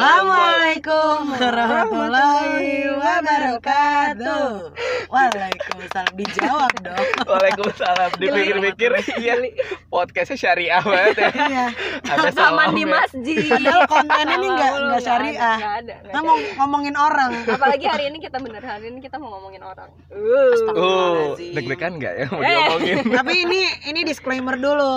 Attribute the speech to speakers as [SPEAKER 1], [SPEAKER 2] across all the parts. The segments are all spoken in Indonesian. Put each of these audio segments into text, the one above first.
[SPEAKER 1] Assalamualaikum warahmatullahi wabarakatuh. Waalaikumsalam dijawab dong.
[SPEAKER 2] Waalaikumsalam. Dipikir-pikir iya podcastnya syariah banget ya.
[SPEAKER 1] Iya.
[SPEAKER 2] Ada ya.
[SPEAKER 3] Taman di
[SPEAKER 2] salamnya.
[SPEAKER 3] masjid.
[SPEAKER 1] Padahal kontennya ini nggak
[SPEAKER 3] Awal-awal
[SPEAKER 1] nggak
[SPEAKER 3] nggak ada,
[SPEAKER 1] syariah.
[SPEAKER 3] nggak ada, nggak
[SPEAKER 1] Kita mau ngomongin orang.
[SPEAKER 3] ada. Apalagi hari ini kita bener hari ini kita mau ngomongin orang.
[SPEAKER 2] Uh,
[SPEAKER 1] Astagfirullahaladzim.
[SPEAKER 2] deg-degan nggak ya mau
[SPEAKER 3] Eh.
[SPEAKER 2] diomongin?
[SPEAKER 1] Tapi ini ini disclaimer dulu.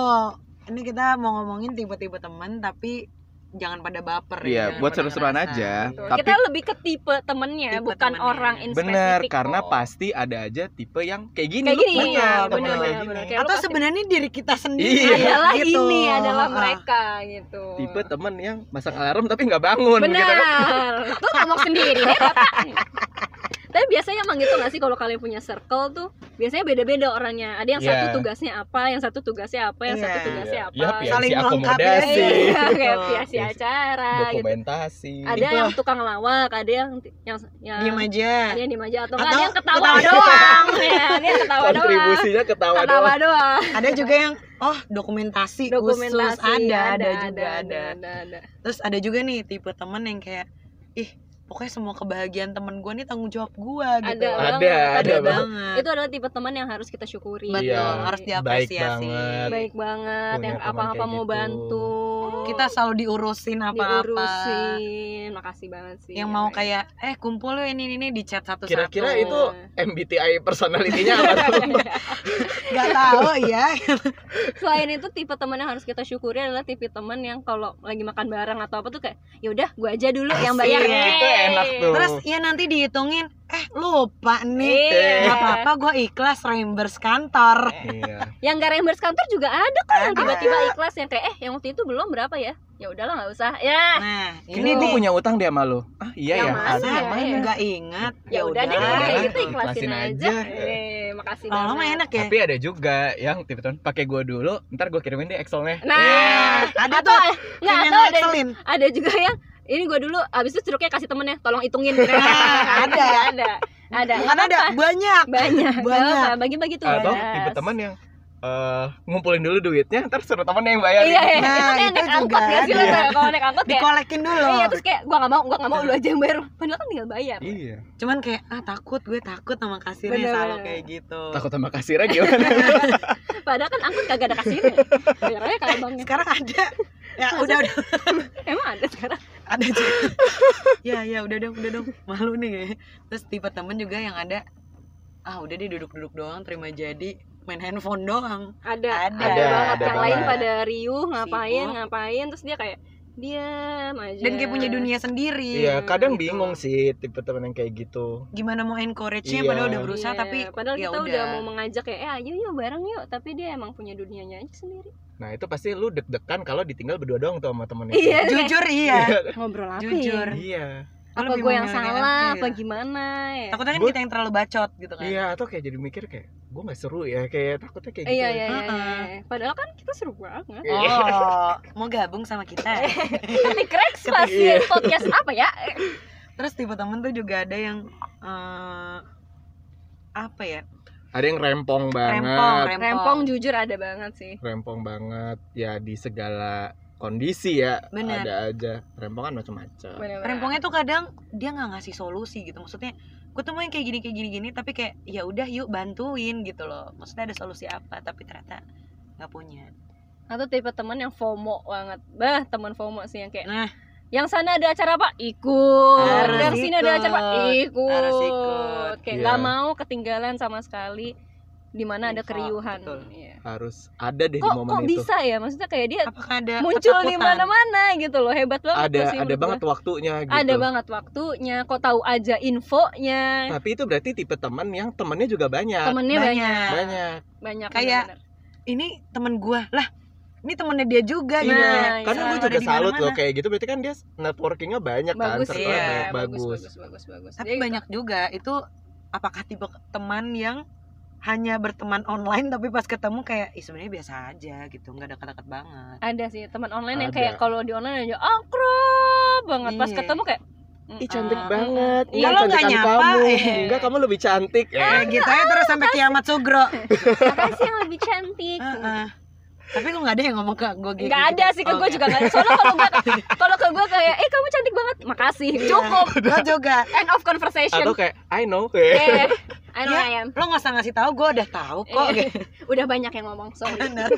[SPEAKER 1] Ini kita mau ngomongin tipe-tipe teman tapi jangan pada baper ya,
[SPEAKER 2] Iya,
[SPEAKER 1] jangan
[SPEAKER 2] buat
[SPEAKER 1] pada
[SPEAKER 2] seru-seruan
[SPEAKER 1] ngerasa.
[SPEAKER 2] aja.
[SPEAKER 3] Betul.
[SPEAKER 2] Tapi-
[SPEAKER 3] kita lebih ke tipe temennya,
[SPEAKER 1] Tipe
[SPEAKER 3] bukan
[SPEAKER 1] temennya. Oh.
[SPEAKER 3] orang in
[SPEAKER 2] Bener,
[SPEAKER 3] spesifik
[SPEAKER 2] karena
[SPEAKER 3] kok.
[SPEAKER 2] pasti ada aja tipe yang kayak gini.
[SPEAKER 3] Kayak
[SPEAKER 2] lu
[SPEAKER 3] gini,
[SPEAKER 2] punya
[SPEAKER 1] iya,
[SPEAKER 2] temen yang
[SPEAKER 1] bener,
[SPEAKER 2] kayak
[SPEAKER 3] bener,
[SPEAKER 2] gini.
[SPEAKER 3] bener. Kayak
[SPEAKER 1] Atau
[SPEAKER 3] lu pasti-
[SPEAKER 1] sebenarnya diri kita sendiri
[SPEAKER 2] Iya.
[SPEAKER 3] adalah
[SPEAKER 1] gitu.
[SPEAKER 3] ini adalah
[SPEAKER 1] Ah.
[SPEAKER 3] mereka gitu.
[SPEAKER 2] Tipe temen yang masang alarm tapi nggak bangun
[SPEAKER 3] Benar.
[SPEAKER 2] gitu kan.
[SPEAKER 3] Tuh ngomong sendiri
[SPEAKER 1] ya,
[SPEAKER 3] deh Bapak. Tapi biasanya emang gitu gak sih kalau kalian punya circle tuh biasanya beda-beda orangnya. Ada yang satu
[SPEAKER 2] Iya.
[SPEAKER 3] tugasnya apa, yang satu tugasnya apa, yang satu
[SPEAKER 1] Iya.
[SPEAKER 3] tugasnya apa.
[SPEAKER 2] Yap, ya,
[SPEAKER 1] Saling
[SPEAKER 2] si
[SPEAKER 1] melengkapi aja.
[SPEAKER 2] akomodasi,
[SPEAKER 1] Iya.
[SPEAKER 3] kayak
[SPEAKER 1] Betul.
[SPEAKER 3] biasa acara gitu.
[SPEAKER 2] dokumentasi.
[SPEAKER 3] Ada yang tukang lawak, ada yang yang yang
[SPEAKER 1] Diem aja.
[SPEAKER 3] ada yang diem aja
[SPEAKER 1] Nah,
[SPEAKER 3] atau,
[SPEAKER 1] Atau
[SPEAKER 3] nggak, ada yang ketawa,
[SPEAKER 1] ketawa
[SPEAKER 3] doang. ya, ada yang ketawa doang.
[SPEAKER 2] kontribusinya ketawa
[SPEAKER 3] Ketawa
[SPEAKER 2] doang.
[SPEAKER 3] doang.
[SPEAKER 1] Ada juga yang oh dokumentasi, khusus
[SPEAKER 3] Dokumentasi
[SPEAKER 1] ada, ada, juga ada. Gitu.
[SPEAKER 3] ada, ada.
[SPEAKER 1] Terus ada juga nih tipe temen yang kayak ih pokoknya semua kebahagiaan temen gue nih tanggung jawab gue gitu.
[SPEAKER 3] Ada,
[SPEAKER 2] Ada,
[SPEAKER 3] banget.
[SPEAKER 2] ada banget.
[SPEAKER 1] banget.
[SPEAKER 3] Itu adalah tipe teman yang harus kita syukuri.
[SPEAKER 1] Betul,
[SPEAKER 2] Iya.
[SPEAKER 1] harus
[SPEAKER 2] Baik
[SPEAKER 1] diapresiasi.
[SPEAKER 2] banget.
[SPEAKER 3] baik banget
[SPEAKER 2] Punya
[SPEAKER 3] yang
[SPEAKER 2] teman
[SPEAKER 3] apa-apa
[SPEAKER 2] kayak
[SPEAKER 3] mau
[SPEAKER 2] gitu.
[SPEAKER 3] bantu
[SPEAKER 1] Kita selalu diurusin apa-apa.
[SPEAKER 3] diurusin makasih banget sih
[SPEAKER 1] Yang mau kayak eh kumpul yuk ini ini ini di chat satu-satu.
[SPEAKER 2] Kira-kira itu MBTI
[SPEAKER 1] Iya, gitu.
[SPEAKER 2] personalitinya apa tuh?
[SPEAKER 1] nggak tahu ya.
[SPEAKER 3] selain itu tipe teman yang harus kita syukuri adalah tipe teman yang kalau lagi makan bareng atau apa tuh kayak ya udah gue aja dulu yang
[SPEAKER 2] Asik,
[SPEAKER 3] bayar
[SPEAKER 2] itu
[SPEAKER 3] Yeay.
[SPEAKER 2] enak tuh.
[SPEAKER 1] Terus ya nanti dihitungin eh lupa nih.
[SPEAKER 3] Iya.
[SPEAKER 1] Gak apa-apa gue ikhlas reimburse kantor.
[SPEAKER 2] Iya.
[SPEAKER 3] yang gak reimburse kantor juga ada kok yang
[SPEAKER 1] Ada.
[SPEAKER 3] tiba-tiba ikhlas yang kayak eh yang waktu itu belum berapa ya ya udahlah nggak usah ya
[SPEAKER 1] Nah,
[SPEAKER 2] Ini
[SPEAKER 1] ini
[SPEAKER 2] gue
[SPEAKER 1] nih
[SPEAKER 2] punya utang dia sama lo. Ah iya
[SPEAKER 3] Yang
[SPEAKER 2] ya.
[SPEAKER 3] mana?
[SPEAKER 2] Ada yang
[SPEAKER 3] Yang
[SPEAKER 2] mana?
[SPEAKER 3] mana?
[SPEAKER 1] nggak ingat.
[SPEAKER 3] ya udah deh
[SPEAKER 2] udah.
[SPEAKER 3] kayak gitu
[SPEAKER 2] Ikhlasin
[SPEAKER 3] ikhlasin
[SPEAKER 2] aja.
[SPEAKER 3] aja, Eh, makasih
[SPEAKER 1] Kalau mah
[SPEAKER 3] banget
[SPEAKER 1] enak ya.
[SPEAKER 2] Tapi ada juga yang tipe temen pakai gue dulu, ntar gue kirimin deh Excelnya. Iya.
[SPEAKER 3] nah
[SPEAKER 1] ada
[SPEAKER 3] atau
[SPEAKER 1] tuh
[SPEAKER 3] nggak
[SPEAKER 1] yang
[SPEAKER 3] atau ada
[SPEAKER 1] ngeselin.
[SPEAKER 3] ada juga yang ini gue dulu abis itu jeruknya kasih temennya tolong hitungin
[SPEAKER 1] Nah, ada.
[SPEAKER 3] ada ada
[SPEAKER 1] Bukan ada banyak.
[SPEAKER 3] banyak
[SPEAKER 1] Banyak.
[SPEAKER 3] banyak bagi-bagi tuh Nah,
[SPEAKER 2] Atau
[SPEAKER 3] balas.
[SPEAKER 2] tipe teman yang eh, ngumpulin dulu duitnya, ntar suruh temennya yang bayarin.
[SPEAKER 3] iya iya
[SPEAKER 1] Nah,
[SPEAKER 3] itu kayak
[SPEAKER 1] itu
[SPEAKER 3] naik
[SPEAKER 1] juga
[SPEAKER 3] angkot gak sih lo
[SPEAKER 2] Iya.
[SPEAKER 1] ada.
[SPEAKER 3] kayak kalau naik angkot kayak
[SPEAKER 1] Dikolekin dulu.
[SPEAKER 3] iya terus kayak gue gak mau gue gak mau lu
[SPEAKER 1] Iya.
[SPEAKER 3] aja yang bayar padahal kan tinggal bayar
[SPEAKER 2] Iya.
[SPEAKER 1] Cuman kayak ah takut gue takut sama kasirnya
[SPEAKER 3] Bener.
[SPEAKER 1] selalu kayak gitu.
[SPEAKER 2] Takut sama kasirnya gimana?
[SPEAKER 3] padahal kan angkot kagak ada
[SPEAKER 2] Iya.
[SPEAKER 3] kasirnya bayar aja kalau banknya
[SPEAKER 1] Sekarang ada. Ya
[SPEAKER 3] Masa?
[SPEAKER 1] udah udah
[SPEAKER 3] emang ada sekarang
[SPEAKER 1] ada aja. ya ya udah dong udah dong malu nih kayaknya. Terus tipe temen juga yang ada ah udah deh duduk-duduk doang terima jadi main handphone doang.
[SPEAKER 3] ada
[SPEAKER 1] Ada,
[SPEAKER 3] ada, banget
[SPEAKER 2] ada
[SPEAKER 3] yang lain
[SPEAKER 2] banget.
[SPEAKER 3] pada riuh ngapain
[SPEAKER 1] Sibuk.
[SPEAKER 3] ngapain terus dia kayak diam aja
[SPEAKER 1] Dan kayak punya dunia sendiri.
[SPEAKER 2] Iya, kadang
[SPEAKER 1] gitu.
[SPEAKER 2] bingung sih tipe temen yang kayak gitu.
[SPEAKER 1] Gimana mau encourage-nya
[SPEAKER 2] Iya.
[SPEAKER 1] padahal udah berusaha
[SPEAKER 3] Iya,
[SPEAKER 1] tapi
[SPEAKER 3] padahal
[SPEAKER 1] ya
[SPEAKER 3] kita udah.
[SPEAKER 1] udah.
[SPEAKER 3] mau mengajak kayak eh ayo yuk bareng yuk tapi dia emang punya dunianya aja sendiri
[SPEAKER 2] Nah, itu pasti lu deg-degan kalau ditinggal berdua doang tuh sama temennya.
[SPEAKER 3] Iya. kayak-
[SPEAKER 1] jujur iya.
[SPEAKER 3] ngobrol apa
[SPEAKER 1] Jujur.
[SPEAKER 3] ya?
[SPEAKER 2] Iya.
[SPEAKER 1] Lu
[SPEAKER 3] apa
[SPEAKER 1] lebih
[SPEAKER 3] gue
[SPEAKER 1] mau
[SPEAKER 3] yang
[SPEAKER 1] milih
[SPEAKER 3] salah
[SPEAKER 1] apa
[SPEAKER 3] apa
[SPEAKER 1] gitu.
[SPEAKER 3] gimana ya
[SPEAKER 1] Takutnya kan
[SPEAKER 2] Gua-
[SPEAKER 1] kita yang terlalu bacot gitu kan.
[SPEAKER 2] Iya, atau kayak jadi mikir kayak gue nggak seru ya, kayak takutnya kayak gitu.
[SPEAKER 3] iya iya iya, iya,
[SPEAKER 1] Heeh.
[SPEAKER 3] iya. padahal kan kita seru banget
[SPEAKER 1] Oh, mau gabung sama kita. ya?
[SPEAKER 3] ini crack
[SPEAKER 2] Iya.
[SPEAKER 3] spasial podcast apa ya
[SPEAKER 1] Terus tipe temen tuh juga ada yang eh, apa ya?
[SPEAKER 2] Ada yang rempong banget.
[SPEAKER 1] Rempong, rempong.
[SPEAKER 3] rempong jujur ada banget sih
[SPEAKER 2] rempong banget ya di segala kondisi ya
[SPEAKER 1] Bener.
[SPEAKER 2] ada aja rempong kan macam-macam
[SPEAKER 3] Bener-bener.
[SPEAKER 1] Rempongnya tuh kadang dia nggak ngasih solusi gitu. Maksudnya, gue temuin kayak gini kayak gini gini, tapi kayak ya udah yuk bantuin gitu loh. Maksudnya ada solusi apa? Tapi ternyata nggak punya.
[SPEAKER 3] atau tipe teman yang FOMO banget bah teman FOMO sih yang kayak
[SPEAKER 1] Nah.
[SPEAKER 3] yang sana ada acara apa ikut
[SPEAKER 2] Harus
[SPEAKER 3] yang sini ada acara apa
[SPEAKER 1] ikut.
[SPEAKER 3] ikut,
[SPEAKER 1] Harus ikut.
[SPEAKER 3] kayak
[SPEAKER 2] Iya.
[SPEAKER 3] nggak mau ketinggalan sama sekali di mana ada
[SPEAKER 1] Info,
[SPEAKER 3] keriuhan
[SPEAKER 1] betul.
[SPEAKER 3] Iya.
[SPEAKER 2] harus ada deh di
[SPEAKER 3] kok
[SPEAKER 2] momen
[SPEAKER 3] kok
[SPEAKER 2] itu
[SPEAKER 3] bisa ya maksudnya kayak dia
[SPEAKER 1] Apakah ada
[SPEAKER 3] muncul di
[SPEAKER 1] ketakutan?
[SPEAKER 3] mana-mana gitu loh hebat banget
[SPEAKER 2] ada
[SPEAKER 3] tuh sih
[SPEAKER 2] ada
[SPEAKER 3] menurut
[SPEAKER 2] banget
[SPEAKER 3] gua.
[SPEAKER 2] waktunya gitu
[SPEAKER 3] ada banget waktunya kok tahu aja infonya
[SPEAKER 2] tapi itu berarti tipe teman yang temennya juga banyak
[SPEAKER 3] temennya
[SPEAKER 1] Nah, Banyak.
[SPEAKER 3] banyak
[SPEAKER 2] banyak
[SPEAKER 3] banyak
[SPEAKER 1] Kayak-
[SPEAKER 3] bener-bener.
[SPEAKER 1] Ini temen gue lah. Ini temennya dia juga
[SPEAKER 3] Nah,
[SPEAKER 1] gitu.
[SPEAKER 3] iya.
[SPEAKER 2] karena
[SPEAKER 3] Iya,
[SPEAKER 2] gue
[SPEAKER 1] ada
[SPEAKER 2] juga
[SPEAKER 1] di
[SPEAKER 2] salut
[SPEAKER 1] mana-mana.
[SPEAKER 2] loh kayak gitu berarti kan dia networkingnya banyak
[SPEAKER 3] bagus
[SPEAKER 2] kan
[SPEAKER 1] iya.
[SPEAKER 2] circle-nya banyak,
[SPEAKER 3] bagus
[SPEAKER 2] bagus,
[SPEAKER 3] bagus bagus bagus
[SPEAKER 1] Tapi banyak juga itu apakah tipe teman yang hanya berteman online tapi pas ketemu kayak ih sebenarnya biasa aja gitu nggak dekat-dekat banget
[SPEAKER 3] ada sih teman online yang
[SPEAKER 2] Ada.
[SPEAKER 3] kayak kalau di online aja akrab banget pas
[SPEAKER 1] Iya.
[SPEAKER 3] ketemu kayak mm,
[SPEAKER 2] Ih cantik
[SPEAKER 3] ah,
[SPEAKER 2] banget.
[SPEAKER 3] Iya,
[SPEAKER 2] Enggak
[SPEAKER 1] lo nggak
[SPEAKER 2] cantikan
[SPEAKER 1] nyapa,
[SPEAKER 2] kamu.
[SPEAKER 1] eh.
[SPEAKER 2] Enggak kamu lebih
[SPEAKER 3] Ah,
[SPEAKER 2] cantik. Eh,
[SPEAKER 1] kayak gitu aja terus sampai kiamat sugro
[SPEAKER 3] mm, mm. makasih yang lebih cantik
[SPEAKER 1] Heeh. tapi lu nggak ada yang ngomong ke gue Ah, gitu
[SPEAKER 3] nggak ada sih ke
[SPEAKER 1] Oh,
[SPEAKER 3] gue
[SPEAKER 1] nggak.
[SPEAKER 3] juga nggak ada. soalnya kalau gue kalau ke gue kayak eh kamu cantik banget makasih
[SPEAKER 1] Iya.
[SPEAKER 3] cukup
[SPEAKER 1] lo juga
[SPEAKER 3] end of conversation
[SPEAKER 2] atau kayak I know
[SPEAKER 3] eh I know
[SPEAKER 1] Ya.
[SPEAKER 3] I am
[SPEAKER 1] lo nggak usah ngasih tahu gue udah tahu kok gitu.
[SPEAKER 3] Eh, udah banyak yang ngomong sorry
[SPEAKER 1] bener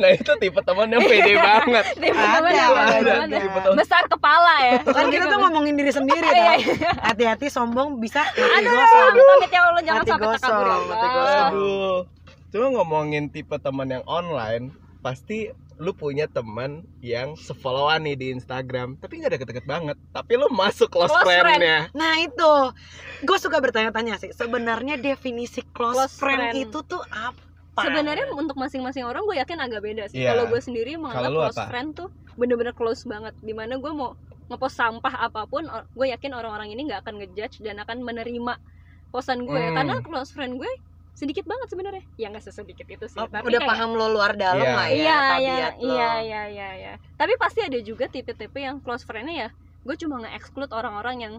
[SPEAKER 2] nah itu tipe temen yang pede banget
[SPEAKER 3] Tipe
[SPEAKER 1] ada
[SPEAKER 3] temen apa,
[SPEAKER 1] ada,
[SPEAKER 3] temen
[SPEAKER 1] ada.
[SPEAKER 3] apa? besar kepala ya
[SPEAKER 1] kan kita tuh ngomongin diri sendiri
[SPEAKER 3] Iya,
[SPEAKER 1] tau. hati-hati sombong bisa mati
[SPEAKER 3] aduh
[SPEAKER 1] gosong
[SPEAKER 3] amit ya Allah jangan
[SPEAKER 1] Mati
[SPEAKER 3] sampai
[SPEAKER 1] gosong,
[SPEAKER 3] takabur ya
[SPEAKER 1] mati
[SPEAKER 3] Allah.
[SPEAKER 1] gosong.
[SPEAKER 2] aduh cuma ngomongin tipe teman yang online pasti lu punya teman yang sefollowan nih di Instagram tapi nggak deket-deket banget tapi lu masuk close,
[SPEAKER 3] Close friend.
[SPEAKER 2] friend-nya
[SPEAKER 1] nah itu gue suka bertanya-tanya sih sebenarnya definisi close,
[SPEAKER 3] Close
[SPEAKER 1] friend,
[SPEAKER 3] friend.
[SPEAKER 1] itu tuh apa
[SPEAKER 3] Sebenarnya untuk masing-masing orang gue yakin agak beda sih.
[SPEAKER 2] Iya.
[SPEAKER 3] Kalau gue sendiri
[SPEAKER 2] Kalau
[SPEAKER 3] menganggap
[SPEAKER 2] lu
[SPEAKER 3] close
[SPEAKER 2] apa?
[SPEAKER 3] friend tuh bener-bener close banget. Dimana gue mau ngepost sampah apapun, or- gue yakin orang-orang ini nggak akan ngejudge dan akan menerima posan gue.
[SPEAKER 2] Hmm.
[SPEAKER 3] Karena close friend gue sedikit banget sebenarnya. Ya nggak sesedikit itu sih.
[SPEAKER 1] Oh,
[SPEAKER 3] tapi
[SPEAKER 1] udah
[SPEAKER 3] kayak-
[SPEAKER 1] paham lo luar dalam
[SPEAKER 2] Iya.
[SPEAKER 1] lah ya
[SPEAKER 3] Iya, iya,
[SPEAKER 1] tabiat lo.
[SPEAKER 3] iya, iya, iya, iya. Tapi pasti ada juga tipe-tipe yang close friendnya ya. Gue cuma nge-exclude orang-orang yang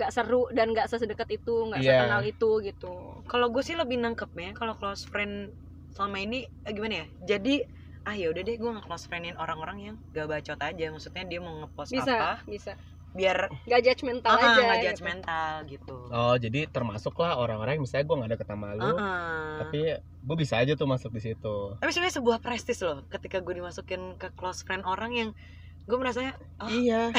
[SPEAKER 3] nggak seru dan nggak sesedekat itu, nggak
[SPEAKER 2] Iya.
[SPEAKER 3] sekenal itu gitu.
[SPEAKER 1] kalau gue sih lebih nangkepnya kalau close friend selama ini eh, gimana ya jadi ah ya udah deh gue nggak close friendin orang-orang yang gak bacot aja maksudnya dia mau ngepost apa
[SPEAKER 3] Bisa, bisa.
[SPEAKER 1] biar
[SPEAKER 3] Nggak judgmental
[SPEAKER 1] ah,
[SPEAKER 3] aja.
[SPEAKER 1] nggak
[SPEAKER 3] gitu.
[SPEAKER 1] judgmental gitu
[SPEAKER 2] oh jadi termasuklah orang-orang yang misalnya gue nggak deket sama lu
[SPEAKER 1] Uh-uh. Ah-ah.
[SPEAKER 2] tapi gue bisa aja tuh masuk di situ
[SPEAKER 1] tapi sebenarnya sebuah prestis loh ketika gue dimasukin ke close friend orang yang gue merasanya Ah.
[SPEAKER 2] iya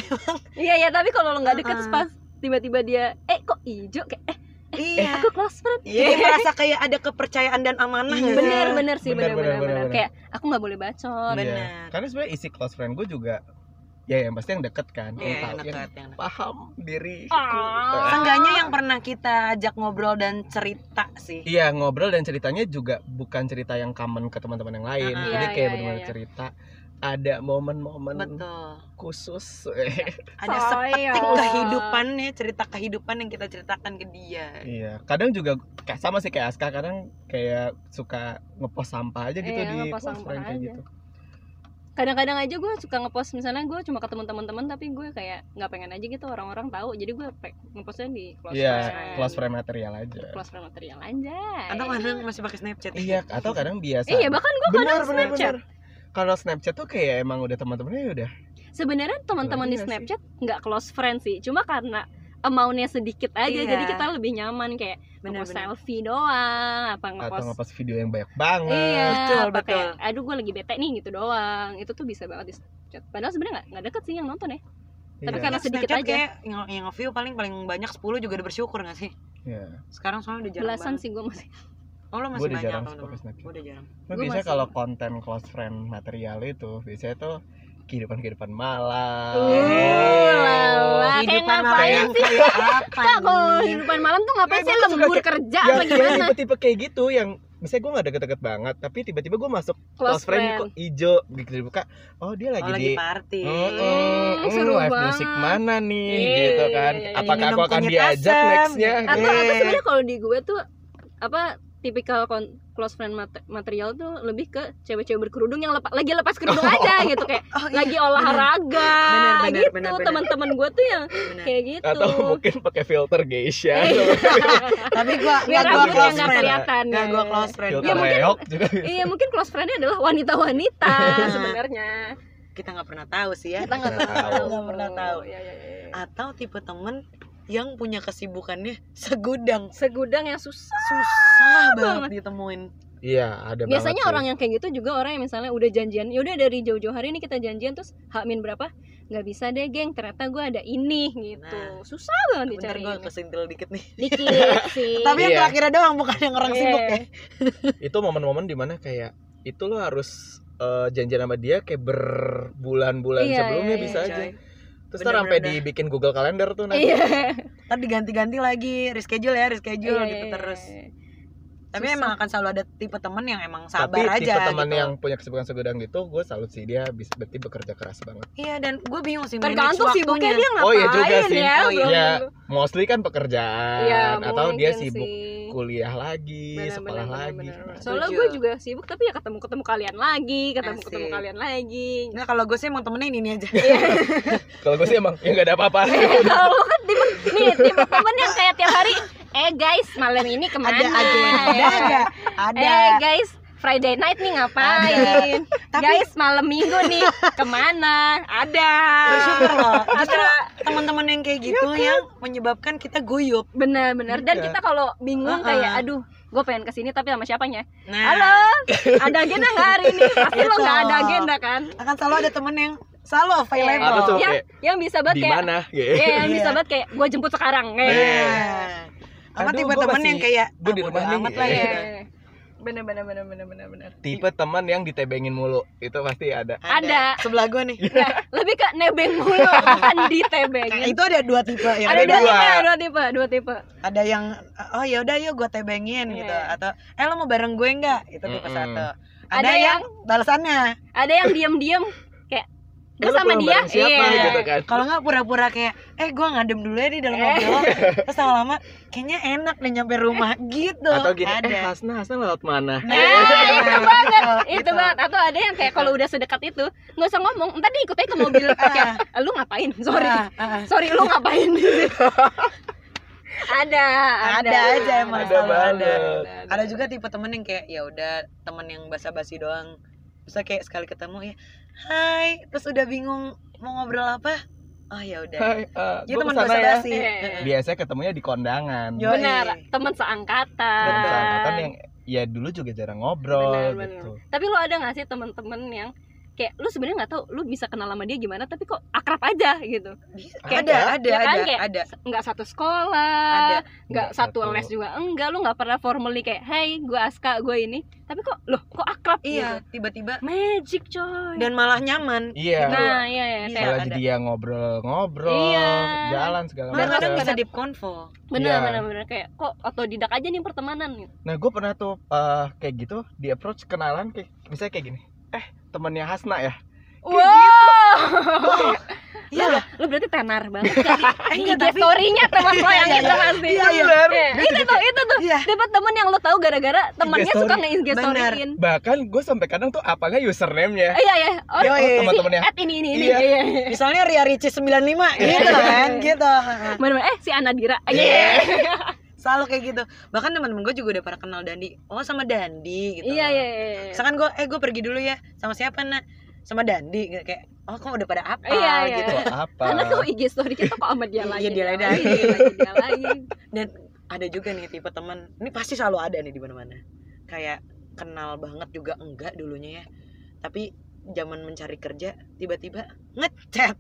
[SPEAKER 3] Iya ya, tapi kalau lo nggak deket
[SPEAKER 1] Heeh.
[SPEAKER 3] pas tiba-tiba dia eh kok ijo kayak eh
[SPEAKER 1] iya
[SPEAKER 3] aku close friend.
[SPEAKER 1] jadi merasa kayak ada kepercayaan dan amanah
[SPEAKER 2] Iya.
[SPEAKER 1] gitu.
[SPEAKER 3] Bener bener sih
[SPEAKER 2] Bener, bener,
[SPEAKER 3] bener bener, bener.
[SPEAKER 2] bener.
[SPEAKER 3] kayak aku nggak boleh bacot.
[SPEAKER 1] Bener.
[SPEAKER 2] Iya. karena sebenarnya isi close friend gue juga ya yang pasti yang deket kan
[SPEAKER 1] Iya,
[SPEAKER 2] yang tahu
[SPEAKER 1] enak
[SPEAKER 2] yang
[SPEAKER 1] banget, enak.
[SPEAKER 2] paham diri
[SPEAKER 3] Ah.
[SPEAKER 1] Seenggaknya yang pernah kita ajak ngobrol dan cerita sih
[SPEAKER 2] Iya ngobrol dan ceritanya juga bukan cerita yang common ke teman-teman yang lain,
[SPEAKER 1] Ah,
[SPEAKER 2] jadi
[SPEAKER 3] iya,
[SPEAKER 2] kayak
[SPEAKER 3] iya,
[SPEAKER 2] benar-benar
[SPEAKER 3] iya.
[SPEAKER 2] cerita ada momen-momen
[SPEAKER 1] Betul
[SPEAKER 2] khusus.
[SPEAKER 1] Ada
[SPEAKER 3] Saya.
[SPEAKER 1] sepetik kehidupannya Cerita kehidupan yang kita ceritakan ke dia
[SPEAKER 2] iya, kadang juga kayak sama sih kayak Aska, kadang kayak suka ngepost sampah aja gitu
[SPEAKER 3] Iya,
[SPEAKER 2] di post
[SPEAKER 3] ngepost sampah
[SPEAKER 2] friend kayak
[SPEAKER 3] aja.
[SPEAKER 2] gitu.
[SPEAKER 3] Kadang-kadang aja gue suka ngepost misalnya gue cuma ketemu teman-teman tapi gue kayak nggak pengen aja gitu orang-orang tahu. Jadi gue pe- ngepostnya di close
[SPEAKER 2] Iya,
[SPEAKER 3] friend.
[SPEAKER 2] close friend material aja.
[SPEAKER 3] Close friend material aja.
[SPEAKER 1] Atau kadang masih pakai snapchat
[SPEAKER 2] Iya, atau kadang biasa.
[SPEAKER 3] Iya, bahkan gue kadang Snapchat.
[SPEAKER 2] Kalau Snapchat tuh kayak emang udah teman-temannya ya udah.
[SPEAKER 3] Sebenarnya teman-teman
[SPEAKER 2] Iya
[SPEAKER 3] di
[SPEAKER 2] sih.
[SPEAKER 3] Snapchat nggak close friend sih, cuma karena amountnya sedikit aja,
[SPEAKER 1] Iya.
[SPEAKER 3] jadi kita lebih nyaman kayak mau
[SPEAKER 1] Bener-bener
[SPEAKER 3] selfie doang, apa
[SPEAKER 2] Atau
[SPEAKER 3] ngepost
[SPEAKER 2] ngepost video yang banyak banget.
[SPEAKER 3] Iya,
[SPEAKER 1] Betul,
[SPEAKER 3] apa
[SPEAKER 1] betul.
[SPEAKER 3] kayak, aduh gue lagi bete nih gitu doang. Itu tuh bisa banget di Snapchat. Padahal sebenarnya nggak nggak deket sih yang nonton ya. Tapi
[SPEAKER 2] Iya,
[SPEAKER 3] karena sedikit
[SPEAKER 1] Snapchat
[SPEAKER 3] aja.
[SPEAKER 1] kayak yang, yang nge-view paling paling banyak 10 juga udah bersyukur gak sih?
[SPEAKER 2] iya.
[SPEAKER 1] Sekarang soalnya udah jarang
[SPEAKER 3] Belasan
[SPEAKER 1] banget.
[SPEAKER 3] sih gue masih.
[SPEAKER 1] Oh lo
[SPEAKER 2] Gua
[SPEAKER 1] masih
[SPEAKER 2] udah
[SPEAKER 1] banyak
[SPEAKER 2] jarang
[SPEAKER 1] teman-teman.
[SPEAKER 2] pakai Snapchat.
[SPEAKER 1] Gua udah jarang
[SPEAKER 2] Nah,
[SPEAKER 3] Gua
[SPEAKER 2] biasanya
[SPEAKER 3] masih-
[SPEAKER 2] kalau konten close friend material itu biasanya tuh kehidupan-kehidupan malam. Iya.
[SPEAKER 3] Uh, lala. Kayak
[SPEAKER 1] Kehidupan malam
[SPEAKER 3] ngapain
[SPEAKER 1] yang
[SPEAKER 3] sih?
[SPEAKER 1] kayak apa
[SPEAKER 3] Kak, kalau
[SPEAKER 1] nih?
[SPEAKER 3] kehidupan malam tuh ngapain
[SPEAKER 2] Nah,
[SPEAKER 3] sih
[SPEAKER 2] gua tuh suka
[SPEAKER 3] lembur
[SPEAKER 2] kayak-
[SPEAKER 3] kerja
[SPEAKER 2] yang
[SPEAKER 3] apa
[SPEAKER 2] yang
[SPEAKER 3] gimana?
[SPEAKER 2] tipe-tipe kayak gitu yang misalnya gue gak deket-deket banget tapi tiba-tiba gue masuk close, friend, kok ijo gitu dibuka oh dia lagi
[SPEAKER 1] Oh
[SPEAKER 2] di
[SPEAKER 1] lagi party
[SPEAKER 2] Mm,
[SPEAKER 3] Hmm,
[SPEAKER 2] mm,
[SPEAKER 3] seru
[SPEAKER 2] live
[SPEAKER 3] banget.
[SPEAKER 2] music mana nih
[SPEAKER 3] Iya,
[SPEAKER 2] gitu
[SPEAKER 3] iya,
[SPEAKER 2] kan
[SPEAKER 3] iya, iya.
[SPEAKER 2] apakah
[SPEAKER 1] Minum
[SPEAKER 2] aku akan
[SPEAKER 1] kunyit
[SPEAKER 2] diajak
[SPEAKER 1] asam.
[SPEAKER 2] nextnya
[SPEAKER 3] Atau
[SPEAKER 2] gitu.
[SPEAKER 3] apa
[SPEAKER 1] Eh.
[SPEAKER 3] sebenarnya kalau di gue tuh apa tipikal kon- close friend mate- material tuh lebih ke cewek-cewek berkerudung yang lepa- lagi lepas kerudung aja gitu kayak
[SPEAKER 1] Oh iya
[SPEAKER 3] lagi olahraga
[SPEAKER 1] Bener, bener,
[SPEAKER 3] gitu
[SPEAKER 1] bener, Iya. bener.
[SPEAKER 3] teman-teman gue tuh yang
[SPEAKER 1] bener
[SPEAKER 3] kayak gitu
[SPEAKER 2] atau mungkin pakai filter geisha
[SPEAKER 3] Iya.
[SPEAKER 1] Tapi gua
[SPEAKER 3] biar
[SPEAKER 1] Gak gua close
[SPEAKER 3] rambutnya nggak
[SPEAKER 2] friend.
[SPEAKER 1] friend
[SPEAKER 3] kelihatan
[SPEAKER 1] Gak gua close friend Iya,
[SPEAKER 2] filter
[SPEAKER 3] Ya,
[SPEAKER 1] Gak-
[SPEAKER 3] mungkin-
[SPEAKER 2] reok juga
[SPEAKER 3] iya mungkin close friendnya adalah wanita-wanita sebenarnya
[SPEAKER 1] Kita gak pernah tahu sih ya
[SPEAKER 3] kita nggak
[SPEAKER 2] Nggak
[SPEAKER 3] pernah
[SPEAKER 2] tahu.
[SPEAKER 3] tahu
[SPEAKER 1] Iya. Nggak pernah tahu.
[SPEAKER 3] Iya, iya, iya.
[SPEAKER 1] Atau tipe temen yang punya kesibukannya segudang
[SPEAKER 3] segudang yang susah
[SPEAKER 1] Susah
[SPEAKER 3] banget.
[SPEAKER 1] banget ditemuin
[SPEAKER 2] iya ada banget
[SPEAKER 3] biasanya
[SPEAKER 2] sih.
[SPEAKER 3] orang yang kayak gitu juga orang yang misalnya udah janjian yaudah dari jauh-jauh hari ini kita janjian terus hamin berapa nggak bisa deh geng ternyata gue ada ini gitu
[SPEAKER 1] Nah.
[SPEAKER 3] susah banget
[SPEAKER 1] Bentar
[SPEAKER 3] dicari
[SPEAKER 1] gua kesentil dikit nih
[SPEAKER 3] dikit sih
[SPEAKER 1] Tapi yang
[SPEAKER 2] Iya.
[SPEAKER 1] terakhirnya doang bukan yang orang
[SPEAKER 3] Iya.
[SPEAKER 1] sibuk ya
[SPEAKER 2] itu momen-momen dimana kayak itu lo harus eh, janjian sama dia kayak berbulan-bulan
[SPEAKER 3] Iya,
[SPEAKER 2] sebelumnya
[SPEAKER 3] iya,
[SPEAKER 2] bisa
[SPEAKER 1] coy.
[SPEAKER 2] aja terus ntar
[SPEAKER 1] Bener-bener
[SPEAKER 2] sampai
[SPEAKER 1] dah.
[SPEAKER 2] dibikin Google Calendar tuh nanti
[SPEAKER 3] iya
[SPEAKER 1] Ntar diganti-ganti lagi Reschedule ya, reschedule
[SPEAKER 3] Iya,
[SPEAKER 1] gitu
[SPEAKER 3] iya,
[SPEAKER 1] terus
[SPEAKER 3] iya.
[SPEAKER 1] Tapi
[SPEAKER 3] Susah.
[SPEAKER 1] emang akan selalu ada tipe temen yang emang sabar
[SPEAKER 2] tapi tipe
[SPEAKER 1] aja
[SPEAKER 2] teman
[SPEAKER 1] gitu.
[SPEAKER 2] yang punya kesibukan segudang gitu gue salut sih dia bisa berarti bekerja keras banget
[SPEAKER 1] Iya dan gue bingung sih manage
[SPEAKER 3] tergantung sibuknya dia ngapain
[SPEAKER 2] Oh, iya juga sih.
[SPEAKER 3] ya
[SPEAKER 1] Oh, iya.
[SPEAKER 3] belum
[SPEAKER 2] Iya,
[SPEAKER 3] tentu.
[SPEAKER 2] mostly kan pekerjaan
[SPEAKER 3] Iya,
[SPEAKER 2] atau dia
[SPEAKER 3] mungkin
[SPEAKER 2] sibuk
[SPEAKER 3] sih.
[SPEAKER 2] kuliah lagi
[SPEAKER 3] Benar,
[SPEAKER 2] sekolah
[SPEAKER 3] benar,
[SPEAKER 2] lagi
[SPEAKER 3] benar, benar.
[SPEAKER 1] Setuju.
[SPEAKER 3] Soalnya gue juga sibuk tapi ya ketemu ketemu kalian lagi, ketemu ketemu
[SPEAKER 1] Asik.
[SPEAKER 3] kalian lagi.
[SPEAKER 1] Nah kalau gue sih emang temennya ini, ini aja
[SPEAKER 3] Iya.
[SPEAKER 2] kalau gue sih emang ya nggak ada apa-apa
[SPEAKER 3] Kalau lu kan tipe nih tipe temen yang kayak tiap hari, eh guys malam ini kemana?
[SPEAKER 1] Ada agenda
[SPEAKER 3] Ya.
[SPEAKER 1] Ada
[SPEAKER 3] Eh guys Friday night nih ngapain?
[SPEAKER 1] Tapi
[SPEAKER 3] Guys malam minggu nih kemana? Ada.
[SPEAKER 1] bersyukur loh. Justru
[SPEAKER 3] Ada.
[SPEAKER 1] teman-teman yang kayak
[SPEAKER 3] Iya
[SPEAKER 1] gitu
[SPEAKER 3] kan?
[SPEAKER 1] yang menyebabkan kita guyup.
[SPEAKER 3] Bener-bener. Dan
[SPEAKER 2] Iya.
[SPEAKER 3] kita kalau
[SPEAKER 1] Uh-uh.
[SPEAKER 3] bingung kayak aduh gue pengen kesini tapi sama siapanya?
[SPEAKER 1] Nah,
[SPEAKER 3] Halo, ada agenda nggak hari ini? Pasti lo
[SPEAKER 1] Gitu.
[SPEAKER 3] nggak ada agenda kan?
[SPEAKER 1] akan selalu ada temen yang selalu available.
[SPEAKER 2] Ada tuh
[SPEAKER 3] Ya.
[SPEAKER 2] kayak
[SPEAKER 3] Yang bisa banget
[SPEAKER 2] di
[SPEAKER 3] kayak
[SPEAKER 2] mana Iya.
[SPEAKER 3] Ya,
[SPEAKER 2] gitu.
[SPEAKER 3] yang
[SPEAKER 1] Iya.
[SPEAKER 3] bisa banget kayak gue jemput sekarang. Eh.
[SPEAKER 1] Nah. Sama
[SPEAKER 2] Aduh,
[SPEAKER 1] tipe
[SPEAKER 2] gua
[SPEAKER 1] temen
[SPEAKER 2] masih-
[SPEAKER 1] yang kayak
[SPEAKER 2] gua di
[SPEAKER 1] ah,
[SPEAKER 2] rumah
[SPEAKER 1] bodo
[SPEAKER 2] nih.
[SPEAKER 1] amat lah ya.
[SPEAKER 3] Iya. Bener bener bener bener bener bener.
[SPEAKER 2] Tipe teman yang ditebengin mulu itu pasti ada.
[SPEAKER 3] Ada.
[SPEAKER 1] Sebelah gue nih.
[SPEAKER 3] Nah, lebih ke nebeng mulu bukan
[SPEAKER 1] Nah,
[SPEAKER 3] ditebengin.
[SPEAKER 1] itu ada dua tipe ya.
[SPEAKER 3] gitu. Ada dua
[SPEAKER 2] dua.
[SPEAKER 3] tipe, ada dua tipe, dua tipe.
[SPEAKER 1] ada yang oh ya udah yuk gue tebengin
[SPEAKER 3] Iya.
[SPEAKER 1] gitu atau eh lo mau bareng gue nggak itu tipe
[SPEAKER 2] Mm-mm.
[SPEAKER 1] satu ada,
[SPEAKER 3] Ada
[SPEAKER 1] yang
[SPEAKER 3] yang-
[SPEAKER 1] balasannya
[SPEAKER 3] Ada yang diem-diem kayak
[SPEAKER 2] Lu
[SPEAKER 3] gue sama
[SPEAKER 2] pulang
[SPEAKER 3] dia.
[SPEAKER 2] bareng Siapa
[SPEAKER 3] iya.
[SPEAKER 2] gitu kan.
[SPEAKER 1] kalau nggak pura-pura kayak eh gue ngadem dulu ya di dalam
[SPEAKER 3] Eh.
[SPEAKER 1] mobil terus lama-lama kayaknya enak deh nyampe rumah gitu
[SPEAKER 2] Atau gini, eh
[SPEAKER 1] ada
[SPEAKER 2] Hasna, Hasna lewat mana?
[SPEAKER 1] Nah,
[SPEAKER 3] Ah, itu
[SPEAKER 1] banget
[SPEAKER 3] Itu banget. Atau ada yang kayak kalau udah sedekat itu nggak usah ngomong, entar dia ikut aja ke mobil. kayak "Eh, lu ngapain? Sorry,
[SPEAKER 1] Ah.
[SPEAKER 3] ah. sorry lu ngapain? ada, ada,
[SPEAKER 1] Ada aja emang
[SPEAKER 2] Ada selalu ada. banget.
[SPEAKER 1] ada juga tipe temen yang kayak ya udah temen yang basa-basi doang bisa kayak sekali ketemu ya hai terus udah bingung mau ngobrol apa oh ya udah
[SPEAKER 2] Hai, eh,
[SPEAKER 1] Jadi
[SPEAKER 2] gua
[SPEAKER 1] teman
[SPEAKER 2] kesana ya.
[SPEAKER 1] basa-basi Eh,
[SPEAKER 3] Iya.
[SPEAKER 2] Biasanya ketemunya di kondangan.
[SPEAKER 1] Yo,
[SPEAKER 3] Benar,
[SPEAKER 1] Yoi.
[SPEAKER 3] teman seangkatan.
[SPEAKER 2] Teman seangkatan yang ya dulu juga jarang ngobrol
[SPEAKER 3] Benar, benar.
[SPEAKER 2] gitu.
[SPEAKER 3] Tapi lu ada gak sih temen-temen yang kayak lu sebenarnya nggak tahu lu bisa kenal sama dia gimana tapi kok akrab aja gitu
[SPEAKER 1] Kayak
[SPEAKER 2] Ada.
[SPEAKER 1] ada ada
[SPEAKER 3] Ya iya. kan,
[SPEAKER 1] ada
[SPEAKER 3] kayak-
[SPEAKER 1] ada
[SPEAKER 3] nggak satu
[SPEAKER 1] ada
[SPEAKER 3] sekolah nggak satu les juga enggak lu nggak pernah formally kayak hey gue aska gue ini tapi kok loh kok akrab
[SPEAKER 1] iya tiba-tiba
[SPEAKER 3] gitu magic coy
[SPEAKER 1] dan malah nyaman
[SPEAKER 2] Iya.
[SPEAKER 3] nah iya iya
[SPEAKER 1] Iya.
[SPEAKER 3] kayak
[SPEAKER 2] Malah
[SPEAKER 1] ada.
[SPEAKER 2] jadi ya ngobrol-ngobrol,
[SPEAKER 3] Iya.
[SPEAKER 2] jalan segala
[SPEAKER 1] malah kadang
[SPEAKER 2] macam.
[SPEAKER 1] bisa deep konvo
[SPEAKER 3] bener
[SPEAKER 2] Iya.
[SPEAKER 3] bener bener kayak kok otodidak aja nih pertemanan gitu.
[SPEAKER 2] Nah, gue pernah tuh eh, kayak gitu di approach kenalan kayak misalnya kayak gini. Eh, temannya Hasna ya.
[SPEAKER 3] wow
[SPEAKER 1] iya lah
[SPEAKER 3] gitu. lu berarti tenar banget kan
[SPEAKER 1] Eh,
[SPEAKER 3] ini
[SPEAKER 1] enggak, tapi-
[SPEAKER 3] story-nya teman lo yang
[SPEAKER 1] Iya,
[SPEAKER 3] itu pasti
[SPEAKER 1] iya, iya.
[SPEAKER 2] Bener.
[SPEAKER 3] Iya, itu tuh itu tuh
[SPEAKER 1] iya
[SPEAKER 3] dapat temen yang lo tahu gara-gara temennya
[SPEAKER 2] story.
[SPEAKER 3] suka nge-IG
[SPEAKER 1] Benar.
[SPEAKER 3] storyin
[SPEAKER 2] Bahkan gue sampai kadang tuh apa nggak username-nya.
[SPEAKER 3] Eh, iya iya oh
[SPEAKER 1] Yoi.
[SPEAKER 2] oh,
[SPEAKER 3] si
[SPEAKER 2] teman-temannya.
[SPEAKER 3] at ini ini ini
[SPEAKER 2] Iya.
[SPEAKER 3] iya
[SPEAKER 1] misalnya Ria Ricis 95 gitu kan gitu
[SPEAKER 3] Bener-bener, eh si Anadira iya
[SPEAKER 2] Iya.
[SPEAKER 1] selalu kayak gitu bahkan teman-teman gue juga udah pada kenal Dandi oh sama Dandi gitu
[SPEAKER 3] iya iya iya.
[SPEAKER 1] misalkan gue eh gue pergi dulu ya sama siapa nak sama Dandi gitu. kayak oh kok udah pada apa
[SPEAKER 3] Iya, iya.
[SPEAKER 1] gitu
[SPEAKER 2] Tuh apa?
[SPEAKER 3] karena tuh IG story kita kok sama dia ya.
[SPEAKER 1] Iya,
[SPEAKER 3] lagi
[SPEAKER 1] dia lagi.
[SPEAKER 3] dia lagi iya, dia lagi
[SPEAKER 1] dan ada juga nih tipe teman ini pasti selalu ada nih di mana-mana kayak kenal banget juga enggak dulunya ya tapi zaman mencari kerja tiba-tiba ngechat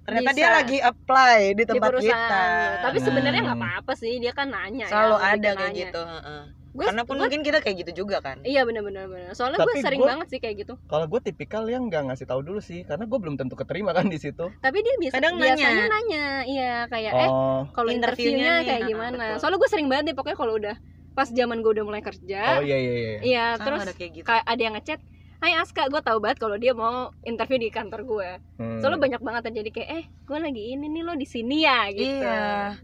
[SPEAKER 1] ternyata
[SPEAKER 3] Bisa.
[SPEAKER 1] dia lagi apply di
[SPEAKER 3] di
[SPEAKER 1] tempat kita
[SPEAKER 3] perusahaan iya. tapi
[SPEAKER 2] Hmm.
[SPEAKER 3] sebenarnya nggak apa-apa sih dia kan nanya
[SPEAKER 1] selalu
[SPEAKER 3] ya,
[SPEAKER 1] ada
[SPEAKER 3] lebih
[SPEAKER 1] kayak
[SPEAKER 3] nanya.
[SPEAKER 1] gitu heeh.
[SPEAKER 3] Gua-
[SPEAKER 1] karena pun
[SPEAKER 3] gua-
[SPEAKER 1] mungkin kita kayak gitu juga kan
[SPEAKER 3] iya bener-bener bener. soalnya gue
[SPEAKER 2] Tapi
[SPEAKER 3] sering
[SPEAKER 2] gua-
[SPEAKER 3] banget sih kayak gitu
[SPEAKER 2] Kalau gue tipikal yang nggak ngasih tahu dulu sih, karena gue belum tentu keterima kan di situ.
[SPEAKER 3] tapi dia biasa
[SPEAKER 1] Kadang nanya.
[SPEAKER 3] biasanya nanya iya kayak eh
[SPEAKER 2] oh,
[SPEAKER 3] kalau
[SPEAKER 1] Interviewnya
[SPEAKER 3] interviewnya
[SPEAKER 1] nih,
[SPEAKER 3] kayak
[SPEAKER 1] ah,
[SPEAKER 3] gimana
[SPEAKER 1] betul.
[SPEAKER 3] soalnya gue sering banget deh pokoknya kalau udah pas zaman gue udah mulai kerja
[SPEAKER 2] oh iya iya iya.
[SPEAKER 3] iya
[SPEAKER 1] Sama
[SPEAKER 3] terus
[SPEAKER 1] ada kayak gitu
[SPEAKER 3] kayak ada yang ngechat Hai Aska, gue tahu banget kalau dia mau interview di kantor gue.
[SPEAKER 2] Hmm.
[SPEAKER 3] Soalnya banyak banget yang jadi kayak, eh, gue lagi ini nih lo di sini ya gitu.
[SPEAKER 1] iya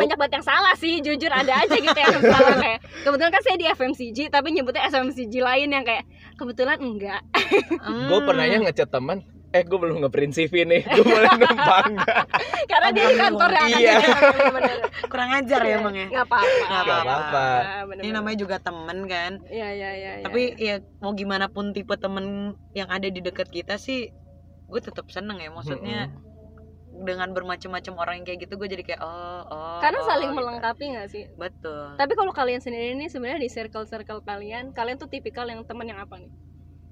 [SPEAKER 2] Lo-
[SPEAKER 3] banyak banget yang salah sih, jujur ada aja gitu yang salah kayak. Kebetulan kan saya di FMCG, tapi nyebutnya SMCG lain yang kayak kebetulan enggak.
[SPEAKER 2] Gue pernahnya
[SPEAKER 3] Hmm.
[SPEAKER 2] ngechat teman, eh gue belum ngeprint CV nih, gue boleh numpang nggak?
[SPEAKER 3] Karena dia di kantor yang akan
[SPEAKER 2] Iya.
[SPEAKER 1] Hmm, kurang ajar
[SPEAKER 3] Iya.
[SPEAKER 1] ya emang ya
[SPEAKER 3] Enggak apa-apa.
[SPEAKER 1] Nggak
[SPEAKER 3] nggak
[SPEAKER 2] apa-apa.
[SPEAKER 3] bener-bener.
[SPEAKER 1] ini namanya juga temen kan
[SPEAKER 3] Iya, iya, iya. iya.
[SPEAKER 1] tapi ya mau gimana pun tipe temen yang ada di dekat kita sih gue tetap seneng ya maksudnya dengan bermacam-macam orang yang kayak gitu gue jadi kayak oh oh
[SPEAKER 3] karena
[SPEAKER 1] oh,
[SPEAKER 3] saling
[SPEAKER 1] gitu.
[SPEAKER 3] melengkapi nggak sih?
[SPEAKER 1] betul
[SPEAKER 3] Tapi kalau kalian sendiri ini sebenarnya di circle-circle kalian, kalian tuh tipikal yang teman yang apa nih?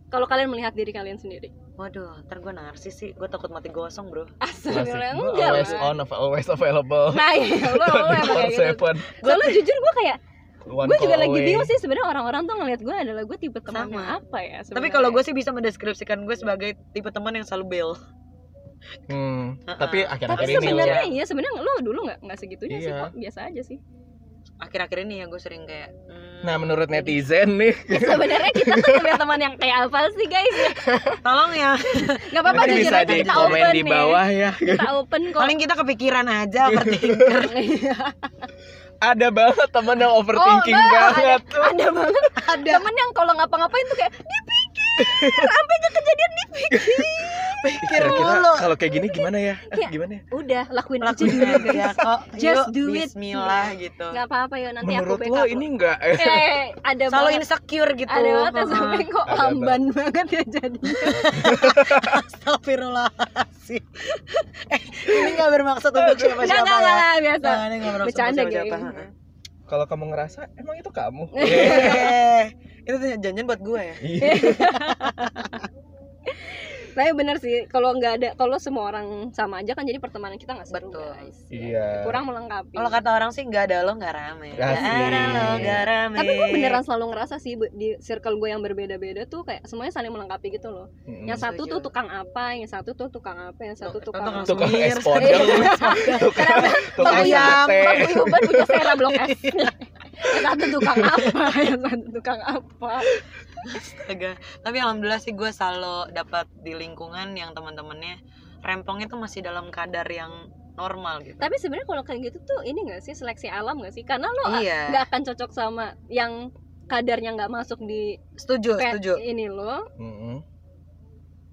[SPEAKER 3] Kalau kalian melihat diri kalian sendiri,
[SPEAKER 1] waduh ntar gue narsis sih gue takut mati gosong bro
[SPEAKER 3] asal
[SPEAKER 2] Masih,
[SPEAKER 3] enggak
[SPEAKER 2] gua always
[SPEAKER 3] lah.
[SPEAKER 2] on, always available.
[SPEAKER 3] Nah, iya, lo, lo emang
[SPEAKER 2] Nomor
[SPEAKER 3] kayak gitu.
[SPEAKER 2] seven,
[SPEAKER 3] Soalnya jujur gue kayak
[SPEAKER 2] one
[SPEAKER 3] gue juga
[SPEAKER 2] call
[SPEAKER 3] lagi
[SPEAKER 2] away.
[SPEAKER 3] bingung sih sebenarnya orang-orang tuh ngeliat gue adalah gue tipe teman
[SPEAKER 1] Sama.
[SPEAKER 3] yang apa ya
[SPEAKER 1] tapi kalau gue sih bisa mendeskripsikan gue sebagai tipe teman yang selalu bail
[SPEAKER 2] Hmm, tapi akhir-akhir
[SPEAKER 3] tapi
[SPEAKER 2] ini ya.
[SPEAKER 3] sebenarnya
[SPEAKER 2] Wak.
[SPEAKER 3] iya sebenarnya lo dulu nggak nggak segitunya sih
[SPEAKER 2] Iya.
[SPEAKER 3] kok biasa aja sih
[SPEAKER 1] akhir-akhir ini ya gue sering kayak hmm,
[SPEAKER 2] Nah, menurut netizen nih,
[SPEAKER 3] Ya, sebenarnya kita tuh ngeliat teman yang kayak apa sih guys
[SPEAKER 1] tolong ya
[SPEAKER 3] nggak apa-apa
[SPEAKER 2] nanti
[SPEAKER 3] jujur
[SPEAKER 2] bisa
[SPEAKER 3] aja
[SPEAKER 2] di
[SPEAKER 3] kita
[SPEAKER 2] komen
[SPEAKER 3] open
[SPEAKER 2] di
[SPEAKER 3] nih.
[SPEAKER 2] bawah ya.
[SPEAKER 3] kita open kok
[SPEAKER 1] paling kita kepikiran aja overthinker
[SPEAKER 2] Ada banget temen yang overthinking
[SPEAKER 3] Oh, ada.
[SPEAKER 2] banget.
[SPEAKER 3] ada banget
[SPEAKER 1] ada
[SPEAKER 3] temen yang kalau ngapa-ngapain tuh kayak dipikir sampai ke kejadian dipikir
[SPEAKER 1] pikir mikir
[SPEAKER 2] Kira-kira
[SPEAKER 1] mulu.
[SPEAKER 2] kalau kayak gini gimana ya? Eh,
[SPEAKER 3] Iya.
[SPEAKER 2] gimana ya?
[SPEAKER 3] udah lakuin aja
[SPEAKER 1] Lakuin
[SPEAKER 3] dulu
[SPEAKER 1] aja
[SPEAKER 3] guys
[SPEAKER 1] gitu ya, kok.
[SPEAKER 3] Just
[SPEAKER 1] Yuk,
[SPEAKER 3] do it.
[SPEAKER 1] Bismillah gitu.
[SPEAKER 3] nggak apa-apa yo nanti
[SPEAKER 2] Menurut
[SPEAKER 3] aku backup
[SPEAKER 2] lo
[SPEAKER 3] lo.
[SPEAKER 2] ini enggak
[SPEAKER 3] eh, eh, eh, ada
[SPEAKER 1] Selalu
[SPEAKER 3] banget
[SPEAKER 1] insecure gitu.
[SPEAKER 3] ada banget yang
[SPEAKER 1] Heeh.
[SPEAKER 3] sampai kok
[SPEAKER 2] Ada
[SPEAKER 3] lamban banget ya jadi
[SPEAKER 1] Astagfirullahaladzim Eh, Ini gak bermaksud untuk
[SPEAKER 3] nggak
[SPEAKER 1] siapa-siapa
[SPEAKER 3] nggak
[SPEAKER 1] ya
[SPEAKER 3] nggak biasa
[SPEAKER 1] Nah, ini gak bermaksud
[SPEAKER 3] bercanda
[SPEAKER 1] untuk
[SPEAKER 3] gitu
[SPEAKER 1] siapa-siapa.
[SPEAKER 2] kalau kamu ngerasa emang itu kamu?
[SPEAKER 3] Iya.
[SPEAKER 1] Eh, Itu janjian buat gue ya
[SPEAKER 2] Iya.
[SPEAKER 3] tapi bener sih kalau nggak ada kalau semua orang sama aja kan jadi pertemanan kita nggak seru
[SPEAKER 1] Betul.
[SPEAKER 3] guys
[SPEAKER 2] Iya.
[SPEAKER 3] kurang melengkapi
[SPEAKER 1] Kalau kata orang sih gak ada lo gak rame Gak
[SPEAKER 2] Asik.
[SPEAKER 1] ada lo gak rame
[SPEAKER 3] tapi gue beneran selalu ngerasa sih bu- di circle gue yang berbeda-beda tuh kayak semuanya saling melengkapi gitu loh
[SPEAKER 2] Mm-mm.
[SPEAKER 3] yang
[SPEAKER 1] Setuju.
[SPEAKER 3] satu tuh tukang apa yang satu tuh tukang apa yang satu
[SPEAKER 1] Tuh,
[SPEAKER 3] tukang
[SPEAKER 1] tuh,
[SPEAKER 2] tukang
[SPEAKER 1] Sumir.
[SPEAKER 2] es podeng, tukang tukang
[SPEAKER 1] Bang Yam,
[SPEAKER 2] sate.
[SPEAKER 3] Bang
[SPEAKER 1] Eh.
[SPEAKER 3] Guyuban punya selera blok S Yang satu tukang apa yang satu tukang apa
[SPEAKER 1] Astaga. Tapi alhamdulillah sih gue selalu dapat di lingkungan yang teman-temannya rempongnya tuh masih dalam kadar yang normal gitu.
[SPEAKER 3] tapi sebenarnya kalau kayak gitu tuh ini gak sih seleksi alam gak sih karena lo
[SPEAKER 1] iya.
[SPEAKER 3] nggak akan cocok sama yang kadarnya nggak masuk di
[SPEAKER 1] Setuju,
[SPEAKER 3] pe-
[SPEAKER 1] setuju.
[SPEAKER 3] ini lo
[SPEAKER 2] Mm-mm.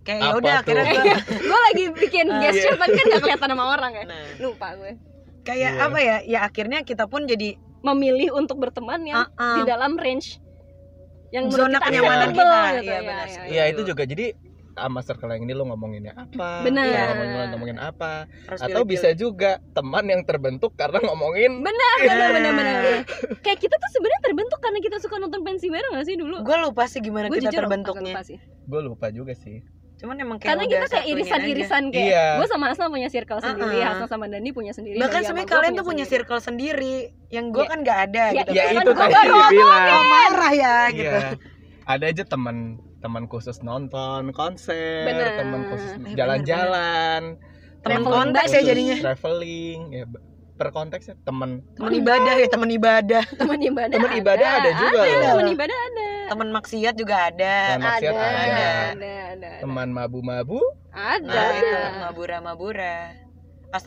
[SPEAKER 1] Kayak
[SPEAKER 2] Apa
[SPEAKER 1] ya udah
[SPEAKER 2] tuh?
[SPEAKER 1] akhirnya gue
[SPEAKER 3] gue lagi bikin
[SPEAKER 1] Ah,
[SPEAKER 3] gesture tapi kan gak kelihatan sama orang ya
[SPEAKER 1] Nah,
[SPEAKER 3] lupa gue
[SPEAKER 1] kayak
[SPEAKER 2] Iya.
[SPEAKER 1] apa ya? Ya akhirnya kita pun jadi
[SPEAKER 3] memilih untuk berteman yang
[SPEAKER 1] uh-uh,
[SPEAKER 3] di dalam range yang menurut
[SPEAKER 1] zona
[SPEAKER 3] kita
[SPEAKER 1] kenyamanan
[SPEAKER 3] acceptable
[SPEAKER 1] kita.
[SPEAKER 3] gitu,
[SPEAKER 1] Iya
[SPEAKER 3] ya,
[SPEAKER 1] benar.
[SPEAKER 3] ya,
[SPEAKER 2] Iya itu juga jadi sama circle yang ini lo ngomonginnya apa?
[SPEAKER 3] Benar.
[SPEAKER 2] Lo ngomongin, lo ngomongin apa?
[SPEAKER 1] Harus
[SPEAKER 2] Atau
[SPEAKER 1] pilih-pilih.
[SPEAKER 2] bisa juga teman yang terbentuk karena ngomongin
[SPEAKER 1] Iya.
[SPEAKER 3] benar benar benar
[SPEAKER 1] Eh.
[SPEAKER 3] benar. kayak kita tuh sebenarnya terbentuk karena kita suka nonton pensi bareng gak sih dulu
[SPEAKER 1] Gue lupa sih gimana
[SPEAKER 3] Gua
[SPEAKER 1] kita
[SPEAKER 3] jujur
[SPEAKER 1] terbentuknya.
[SPEAKER 3] agak lupa sih.
[SPEAKER 2] gue lupa juga sih.
[SPEAKER 1] Cuman emang kayak
[SPEAKER 3] karena
[SPEAKER 1] udah
[SPEAKER 3] kita kayak
[SPEAKER 1] satu ini aja.
[SPEAKER 3] irisan-irisan kayak
[SPEAKER 2] Iya.
[SPEAKER 3] gue sama Asna punya circle sendiri
[SPEAKER 1] Uh-uh.
[SPEAKER 3] Hasna sama Dani punya sendiri
[SPEAKER 1] Bahkan
[SPEAKER 3] Bayu sama
[SPEAKER 1] sebenarnya
[SPEAKER 3] gua
[SPEAKER 1] kalian tuh punya circle sendiri yang gue
[SPEAKER 3] Iya.
[SPEAKER 1] kan gak ada
[SPEAKER 3] Iya,
[SPEAKER 1] gitu.
[SPEAKER 3] iya,
[SPEAKER 2] Ya
[SPEAKER 1] kan.
[SPEAKER 2] itu
[SPEAKER 3] gua
[SPEAKER 2] tadi
[SPEAKER 3] baru
[SPEAKER 2] dibilang.
[SPEAKER 1] Oh, marah ya gitu.
[SPEAKER 2] Iya. Ada aja teman teman khusus nonton konser,
[SPEAKER 3] Benar.
[SPEAKER 2] teman khusus
[SPEAKER 1] benar,
[SPEAKER 2] jalan-jalan, teman
[SPEAKER 1] Teman konteks
[SPEAKER 2] khusus
[SPEAKER 1] ya jadinya.
[SPEAKER 2] traveling, ya be- per konteks ya teman
[SPEAKER 1] Teman ibadah ya, teman ibadah.
[SPEAKER 3] teman ibadah
[SPEAKER 2] teman ibadah ada juga
[SPEAKER 3] ada
[SPEAKER 2] loh.
[SPEAKER 3] teman ibadah ada
[SPEAKER 1] Teman maksiat juga ada. Nah,
[SPEAKER 2] Teman maksiat
[SPEAKER 3] ada
[SPEAKER 2] ada.
[SPEAKER 3] ada ada ada
[SPEAKER 2] teman mabu-mabu
[SPEAKER 3] ada
[SPEAKER 1] Nah, itu mabura-mabura.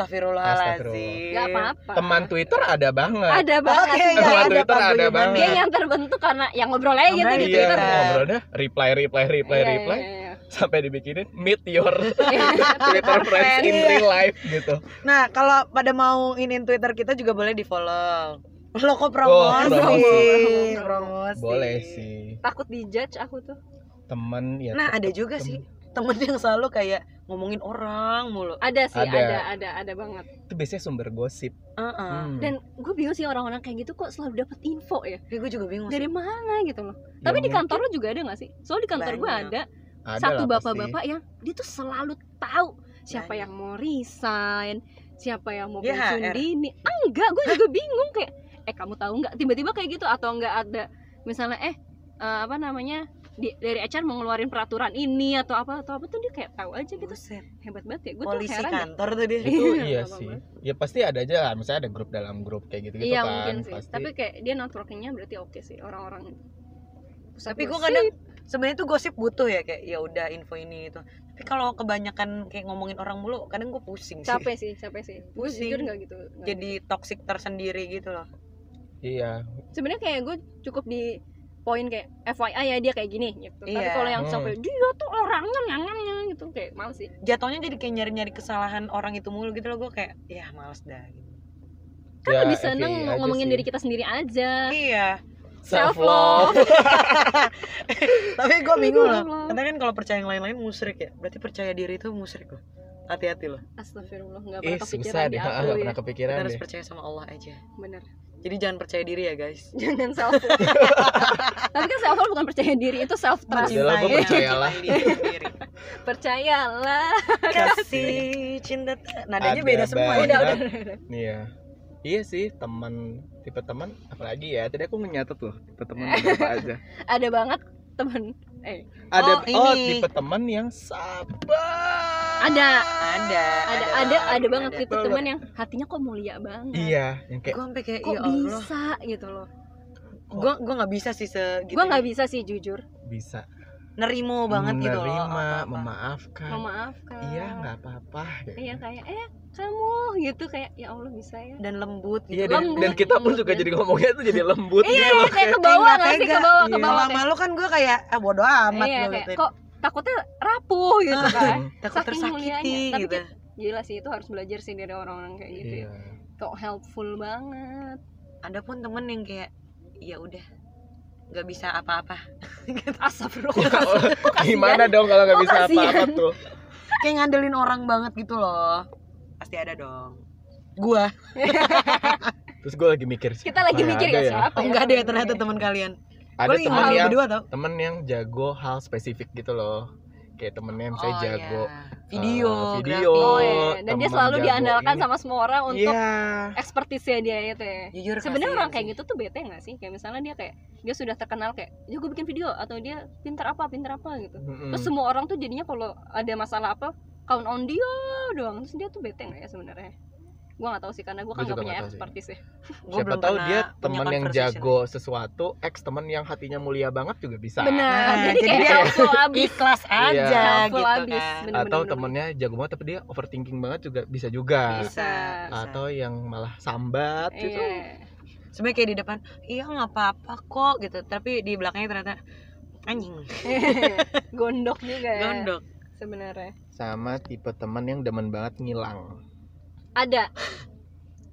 [SPEAKER 1] Astagfirullahalazim.
[SPEAKER 3] nggak apa-apa
[SPEAKER 2] teman Twitter ada banget
[SPEAKER 3] ada banget
[SPEAKER 1] Iya. Oke,
[SPEAKER 2] Teman
[SPEAKER 1] ya, ada
[SPEAKER 2] Twitter ada
[SPEAKER 1] paguyubannya.
[SPEAKER 3] dia
[SPEAKER 2] banget.
[SPEAKER 3] yang terbentuk karena yang ngobrol aja gitu
[SPEAKER 1] Ngobrol aja.
[SPEAKER 3] di
[SPEAKER 2] iya
[SPEAKER 3] Twitter
[SPEAKER 1] Twitter.
[SPEAKER 2] ngobrol dah reply reply reply
[SPEAKER 3] Iya,
[SPEAKER 2] reply
[SPEAKER 3] iya,
[SPEAKER 2] sampai dibikinin meet your
[SPEAKER 3] iya.
[SPEAKER 2] Twitter friends in
[SPEAKER 1] friends.
[SPEAKER 2] real life gitu
[SPEAKER 1] Nah, kalau pada mau ingin Twitter kita juga boleh di-follow. Lo
[SPEAKER 2] Oh,
[SPEAKER 1] kok
[SPEAKER 2] promosi?
[SPEAKER 1] promosi?
[SPEAKER 3] Promosi.
[SPEAKER 2] boleh sih
[SPEAKER 3] takut dijudge aku tuh
[SPEAKER 2] teman ya
[SPEAKER 1] Nah,
[SPEAKER 2] tetep
[SPEAKER 1] ada juga
[SPEAKER 2] temen.
[SPEAKER 1] sih temen yang selalu kayak ngomongin orang mulu.
[SPEAKER 3] ada sih
[SPEAKER 2] Ada. Hmm.
[SPEAKER 3] ada ada ada banget
[SPEAKER 2] itu biasanya sumber gosip
[SPEAKER 1] Heeh.
[SPEAKER 2] Hmm.
[SPEAKER 3] dan gue bingung sih orang-orang kayak gitu kok selalu dapat info ya
[SPEAKER 1] Tapi gue juga bingung
[SPEAKER 3] dari
[SPEAKER 1] sih.
[SPEAKER 3] mana gitu loh
[SPEAKER 2] Ya
[SPEAKER 3] tapi di
[SPEAKER 2] mungkin
[SPEAKER 3] kantor lo juga ada gak sih soal di kantor gue
[SPEAKER 1] Banyak.
[SPEAKER 3] ada
[SPEAKER 2] ada
[SPEAKER 3] satu
[SPEAKER 2] lah pasti.
[SPEAKER 3] bapak-bapak yang dia tuh selalu tahu siapa
[SPEAKER 1] Banyak.
[SPEAKER 3] yang mau resign, siapa yang mau
[SPEAKER 1] Dia
[SPEAKER 3] pensiun
[SPEAKER 1] HR.
[SPEAKER 3] dini. Ah, enggak, gue juga bingung kayak eh kamu tahu nggak tiba-tiba kayak gitu atau nggak ada misalnya eh eh, apa namanya di- dari HR mau ngeluarin peraturan ini atau apa atau apa tuh dia kayak tahu aja gitu
[SPEAKER 1] Buset,
[SPEAKER 3] hebat banget ya gue tuh
[SPEAKER 1] polisi
[SPEAKER 3] heran deh.
[SPEAKER 1] kantor tuh dia.
[SPEAKER 2] itu
[SPEAKER 3] Iya,
[SPEAKER 2] iya
[SPEAKER 3] apa-apa.
[SPEAKER 2] sih ya pasti ada aja lah misalnya ada grup dalam grup kayak gitu gitu
[SPEAKER 3] iya
[SPEAKER 2] kan
[SPEAKER 3] mungkin sih
[SPEAKER 2] pasti Iya
[SPEAKER 3] tapi kayak dia networkingnya berarti oke sih orang-orang pusat
[SPEAKER 1] Tapi gue
[SPEAKER 3] gosip.
[SPEAKER 1] kadang sebenarnya tuh gosip butuh ya kayak ya udah info ini itu. Tapi kalau kebanyakan kayak ngomongin orang mulu, kadang gue pusing sih.
[SPEAKER 3] capek sih capek sih gue
[SPEAKER 1] Pusing.
[SPEAKER 3] jujur nggak gitu nggak
[SPEAKER 1] Jadi toxic tersendiri gitu loh.
[SPEAKER 2] iya
[SPEAKER 3] sebenarnya kayak gue cukup di poin kayak FYI ya dia kayak gini gitu. Tapi
[SPEAKER 1] Iya.
[SPEAKER 3] kalau yang
[SPEAKER 2] Hmm.
[SPEAKER 3] sampai dia tuh orangnya nyanyinya gitu kayak males sih.
[SPEAKER 1] Jatuhnya jadi kayak nyari-nyari kesalahan orang itu mulu gitu loh gue kayak ya males dah gitu.
[SPEAKER 3] Kan
[SPEAKER 2] Ya,
[SPEAKER 3] lebih seneng
[SPEAKER 2] FYI aja
[SPEAKER 3] ngomongin
[SPEAKER 2] sih.
[SPEAKER 3] diri kita sendiri aja.
[SPEAKER 1] Iya.
[SPEAKER 2] self love
[SPEAKER 1] tapi gue bingung loh
[SPEAKER 3] Astagfirullah.
[SPEAKER 1] karena kan kalau percaya yang lain-lain musrik ya berarti percaya diri itu musrik loh hati-hati loh
[SPEAKER 3] Astagfirullah nggak
[SPEAKER 2] eh
[SPEAKER 3] pernah kepikiran
[SPEAKER 2] susah
[SPEAKER 3] di
[SPEAKER 2] deh ah,
[SPEAKER 3] aku
[SPEAKER 2] nggak
[SPEAKER 3] ya.
[SPEAKER 2] pernah kepikiran
[SPEAKER 1] kita harus
[SPEAKER 2] deh
[SPEAKER 1] percaya sama Allah aja
[SPEAKER 3] Bener.
[SPEAKER 1] jadi jangan percaya diri ya guys
[SPEAKER 3] Jangan self love. Tapi kan self love bukan percaya diri itu self trust.
[SPEAKER 2] Udahlah, gua
[SPEAKER 1] Mencintai-
[SPEAKER 2] percayalah.
[SPEAKER 1] mencintai diri sendiri.
[SPEAKER 3] Percayalah.
[SPEAKER 1] kasih cinta tak- nadanya
[SPEAKER 2] Ada
[SPEAKER 1] beda semua ya.
[SPEAKER 2] banyak.
[SPEAKER 3] Udah
[SPEAKER 2] Benar.
[SPEAKER 3] udah. udah, udah.
[SPEAKER 2] iya iya sih teman tipe teman apalagi ya tadi aku nyatet loh tipe teman ada apa aja
[SPEAKER 3] Ada banget temen. Eh
[SPEAKER 2] ada
[SPEAKER 1] Oh,
[SPEAKER 2] oh,
[SPEAKER 1] ini.
[SPEAKER 2] tipe teman yang sabar
[SPEAKER 3] ada
[SPEAKER 1] ada
[SPEAKER 3] ada ada ada banget
[SPEAKER 1] ada.
[SPEAKER 3] gitu
[SPEAKER 2] Banget.
[SPEAKER 3] teman yang hatinya kok mulia banget.
[SPEAKER 2] iya yang kayak
[SPEAKER 1] gue sampai kayak
[SPEAKER 3] Kok
[SPEAKER 1] ya Allah
[SPEAKER 3] bisa gitu loh.
[SPEAKER 1] gue gue nggak bisa sih
[SPEAKER 2] Gitu
[SPEAKER 1] segitu
[SPEAKER 2] ya.
[SPEAKER 3] Gue nggak bisa sih jujur.
[SPEAKER 2] bisa
[SPEAKER 1] nerimo banget
[SPEAKER 2] menerima,
[SPEAKER 1] gitu loh apa-apa.
[SPEAKER 2] memaafkan
[SPEAKER 3] Mohon maaf kan.
[SPEAKER 2] iya nggak apa-apa gitu.
[SPEAKER 3] Iya kayak eh kamu gitu kayak ya Allah bisa ya.
[SPEAKER 1] dan lembut gitu
[SPEAKER 2] Iya dan,
[SPEAKER 3] Lembut.
[SPEAKER 2] dan kita pun juga jadi ngomongnya tuh jadi lembut
[SPEAKER 3] Iya,
[SPEAKER 2] gitu loh.
[SPEAKER 3] kayak ke bawah
[SPEAKER 1] Kayak
[SPEAKER 3] nggak sih
[SPEAKER 1] tega.
[SPEAKER 3] ke bawah ke
[SPEAKER 2] Iya.
[SPEAKER 3] bawah.
[SPEAKER 1] lama lu kan gue kayak ah bodo
[SPEAKER 3] kayak-
[SPEAKER 1] amat
[SPEAKER 3] Iya
[SPEAKER 1] lu
[SPEAKER 3] kayak
[SPEAKER 1] gitu.
[SPEAKER 3] kok takutnya rapuh gitu
[SPEAKER 2] Ah.
[SPEAKER 3] kan
[SPEAKER 2] Hmm.
[SPEAKER 1] takut
[SPEAKER 3] Saking mulianya.
[SPEAKER 1] tersakiti
[SPEAKER 3] Tapi
[SPEAKER 1] gitu
[SPEAKER 3] gila sih itu harus belajar sih dari orang-orang kayak gitu
[SPEAKER 2] Iya.
[SPEAKER 3] ya kok helpful banget
[SPEAKER 1] ada pun temen yang kayak ya udah nggak bisa apa-apa Gitu.
[SPEAKER 3] asap bro
[SPEAKER 2] Gimana dong kalau nggak
[SPEAKER 3] Kok
[SPEAKER 2] bisa
[SPEAKER 3] kasihan?
[SPEAKER 2] apa-apa tuh?
[SPEAKER 1] kayak ngandelin orang banget gitu loh pasti ada dong gua
[SPEAKER 2] Terus gue lagi mikir sih.
[SPEAKER 3] kita lagi mikir ya
[SPEAKER 1] oh,
[SPEAKER 3] siapa ya
[SPEAKER 1] enggak deh
[SPEAKER 3] namanya?
[SPEAKER 1] ternyata teman kalian
[SPEAKER 2] Ada
[SPEAKER 1] gua lagi
[SPEAKER 2] temen
[SPEAKER 1] malu
[SPEAKER 2] yang
[SPEAKER 1] berdua tau
[SPEAKER 2] temen yang jago hal spesifik gitu loh. Kayak temennya misalnya
[SPEAKER 1] Oh,
[SPEAKER 2] jago
[SPEAKER 1] iya. video
[SPEAKER 2] eh, video.
[SPEAKER 1] video
[SPEAKER 3] oh iya dan dia
[SPEAKER 2] teman
[SPEAKER 3] selalu
[SPEAKER 2] jago
[SPEAKER 3] diandalkan
[SPEAKER 2] ini.
[SPEAKER 3] sama semua orang untuk
[SPEAKER 2] Iya.
[SPEAKER 3] ekspertisnya dia itu ya
[SPEAKER 1] jujur
[SPEAKER 3] sebenarnya
[SPEAKER 1] kasihan
[SPEAKER 3] orang
[SPEAKER 1] sih.
[SPEAKER 3] kayak gitu tuh bete gak sih kayak misalnya dia kayak dia sudah terkenal kayak ya gue bikin video atau dia pintar apa pintar apa gitu
[SPEAKER 2] Mm-mm.
[SPEAKER 3] terus semua orang tuh jadinya kalau ada masalah apa count on dia doang terus dia tuh bete gak ya sebenarnya gue gak tahu sih karena gue
[SPEAKER 2] Gua
[SPEAKER 3] kan gak
[SPEAKER 2] juga
[SPEAKER 3] punya
[SPEAKER 2] nggak tahu sih.
[SPEAKER 3] ekspertis ya
[SPEAKER 1] Gua
[SPEAKER 2] Siapa
[SPEAKER 1] belum
[SPEAKER 2] tahu
[SPEAKER 1] pernah
[SPEAKER 2] dia
[SPEAKER 1] punya
[SPEAKER 2] temen yang
[SPEAKER 1] conversation.
[SPEAKER 2] jago sesuatu, ex temen yang hatinya mulia banget juga bisa.
[SPEAKER 3] benar
[SPEAKER 1] Nah,
[SPEAKER 3] jadi
[SPEAKER 1] jadi
[SPEAKER 3] kayak
[SPEAKER 1] dia-
[SPEAKER 3] helpful abis
[SPEAKER 1] ikhlas
[SPEAKER 2] Iya.
[SPEAKER 1] aja
[SPEAKER 3] helpful
[SPEAKER 1] gitu kan
[SPEAKER 3] abis Bener,
[SPEAKER 2] Atau
[SPEAKER 3] bener, bener.
[SPEAKER 2] temennya jago banget tapi dia overthinking banget juga bisa
[SPEAKER 1] Nah,
[SPEAKER 2] juga.
[SPEAKER 3] Bisa.
[SPEAKER 2] Atau yang malah sambat gitu.
[SPEAKER 3] Iya.
[SPEAKER 1] sebenarnya kayak di depan iya nggak apa-apa kok gitu tapi di belakangnya ternyata anjing
[SPEAKER 3] Iya. gondok juga ya
[SPEAKER 1] gondok
[SPEAKER 3] sebenarnya
[SPEAKER 2] Sama tipe temen yang demen banget ngilang.
[SPEAKER 3] ada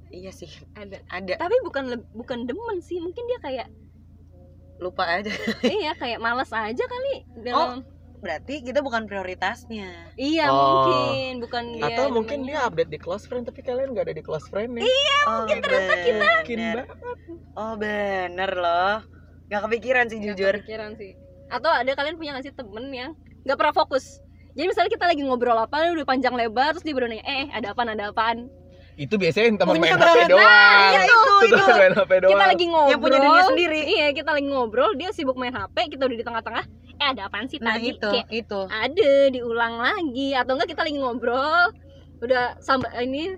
[SPEAKER 1] iya sih
[SPEAKER 3] ada
[SPEAKER 1] ada
[SPEAKER 3] tapi bukan leb- bukan demen sih mungkin dia kayak
[SPEAKER 1] lupa aja
[SPEAKER 3] iya kayak males aja kali
[SPEAKER 1] Oh.
[SPEAKER 3] dalam
[SPEAKER 1] berarti kita bukan prioritasnya
[SPEAKER 3] iya
[SPEAKER 2] Oh.
[SPEAKER 3] mungkin bukan dia
[SPEAKER 2] Atau
[SPEAKER 3] Iya, demen.
[SPEAKER 2] mungkin dia update di close friend tapi kalian nggak ada di close friend nih.
[SPEAKER 1] oh, mungkin ternyata kita
[SPEAKER 2] Mungkin banget.
[SPEAKER 1] oh bener loh nggak kepikiran sih
[SPEAKER 3] Nggak
[SPEAKER 1] jujur
[SPEAKER 3] Iya, kepikiran sih atau ada kalian punya nggak sih temen yang nggak pernah fokus jadi misalnya kita lagi ngobrol apa udah panjang lebar terus dia baru nanya eh ada apaan ada apaan
[SPEAKER 2] Itu biasanya yang temen
[SPEAKER 1] Punya
[SPEAKER 2] main
[SPEAKER 1] banget.
[SPEAKER 2] HP
[SPEAKER 1] Nah,
[SPEAKER 2] doang.
[SPEAKER 1] iya itu
[SPEAKER 2] Itu
[SPEAKER 1] itu
[SPEAKER 2] temen main HP doang.
[SPEAKER 3] kita lagi ngobrol
[SPEAKER 1] yang punya dunia sendiri
[SPEAKER 3] iya kita lagi ngobrol dia sibuk main hp kita udah di tengah-tengah eh ada apaan sih
[SPEAKER 1] nah
[SPEAKER 3] tadi
[SPEAKER 1] itu
[SPEAKER 3] kayak
[SPEAKER 1] itu
[SPEAKER 3] ada diulang lagi atau enggak kita lagi ngobrol udah sampai ini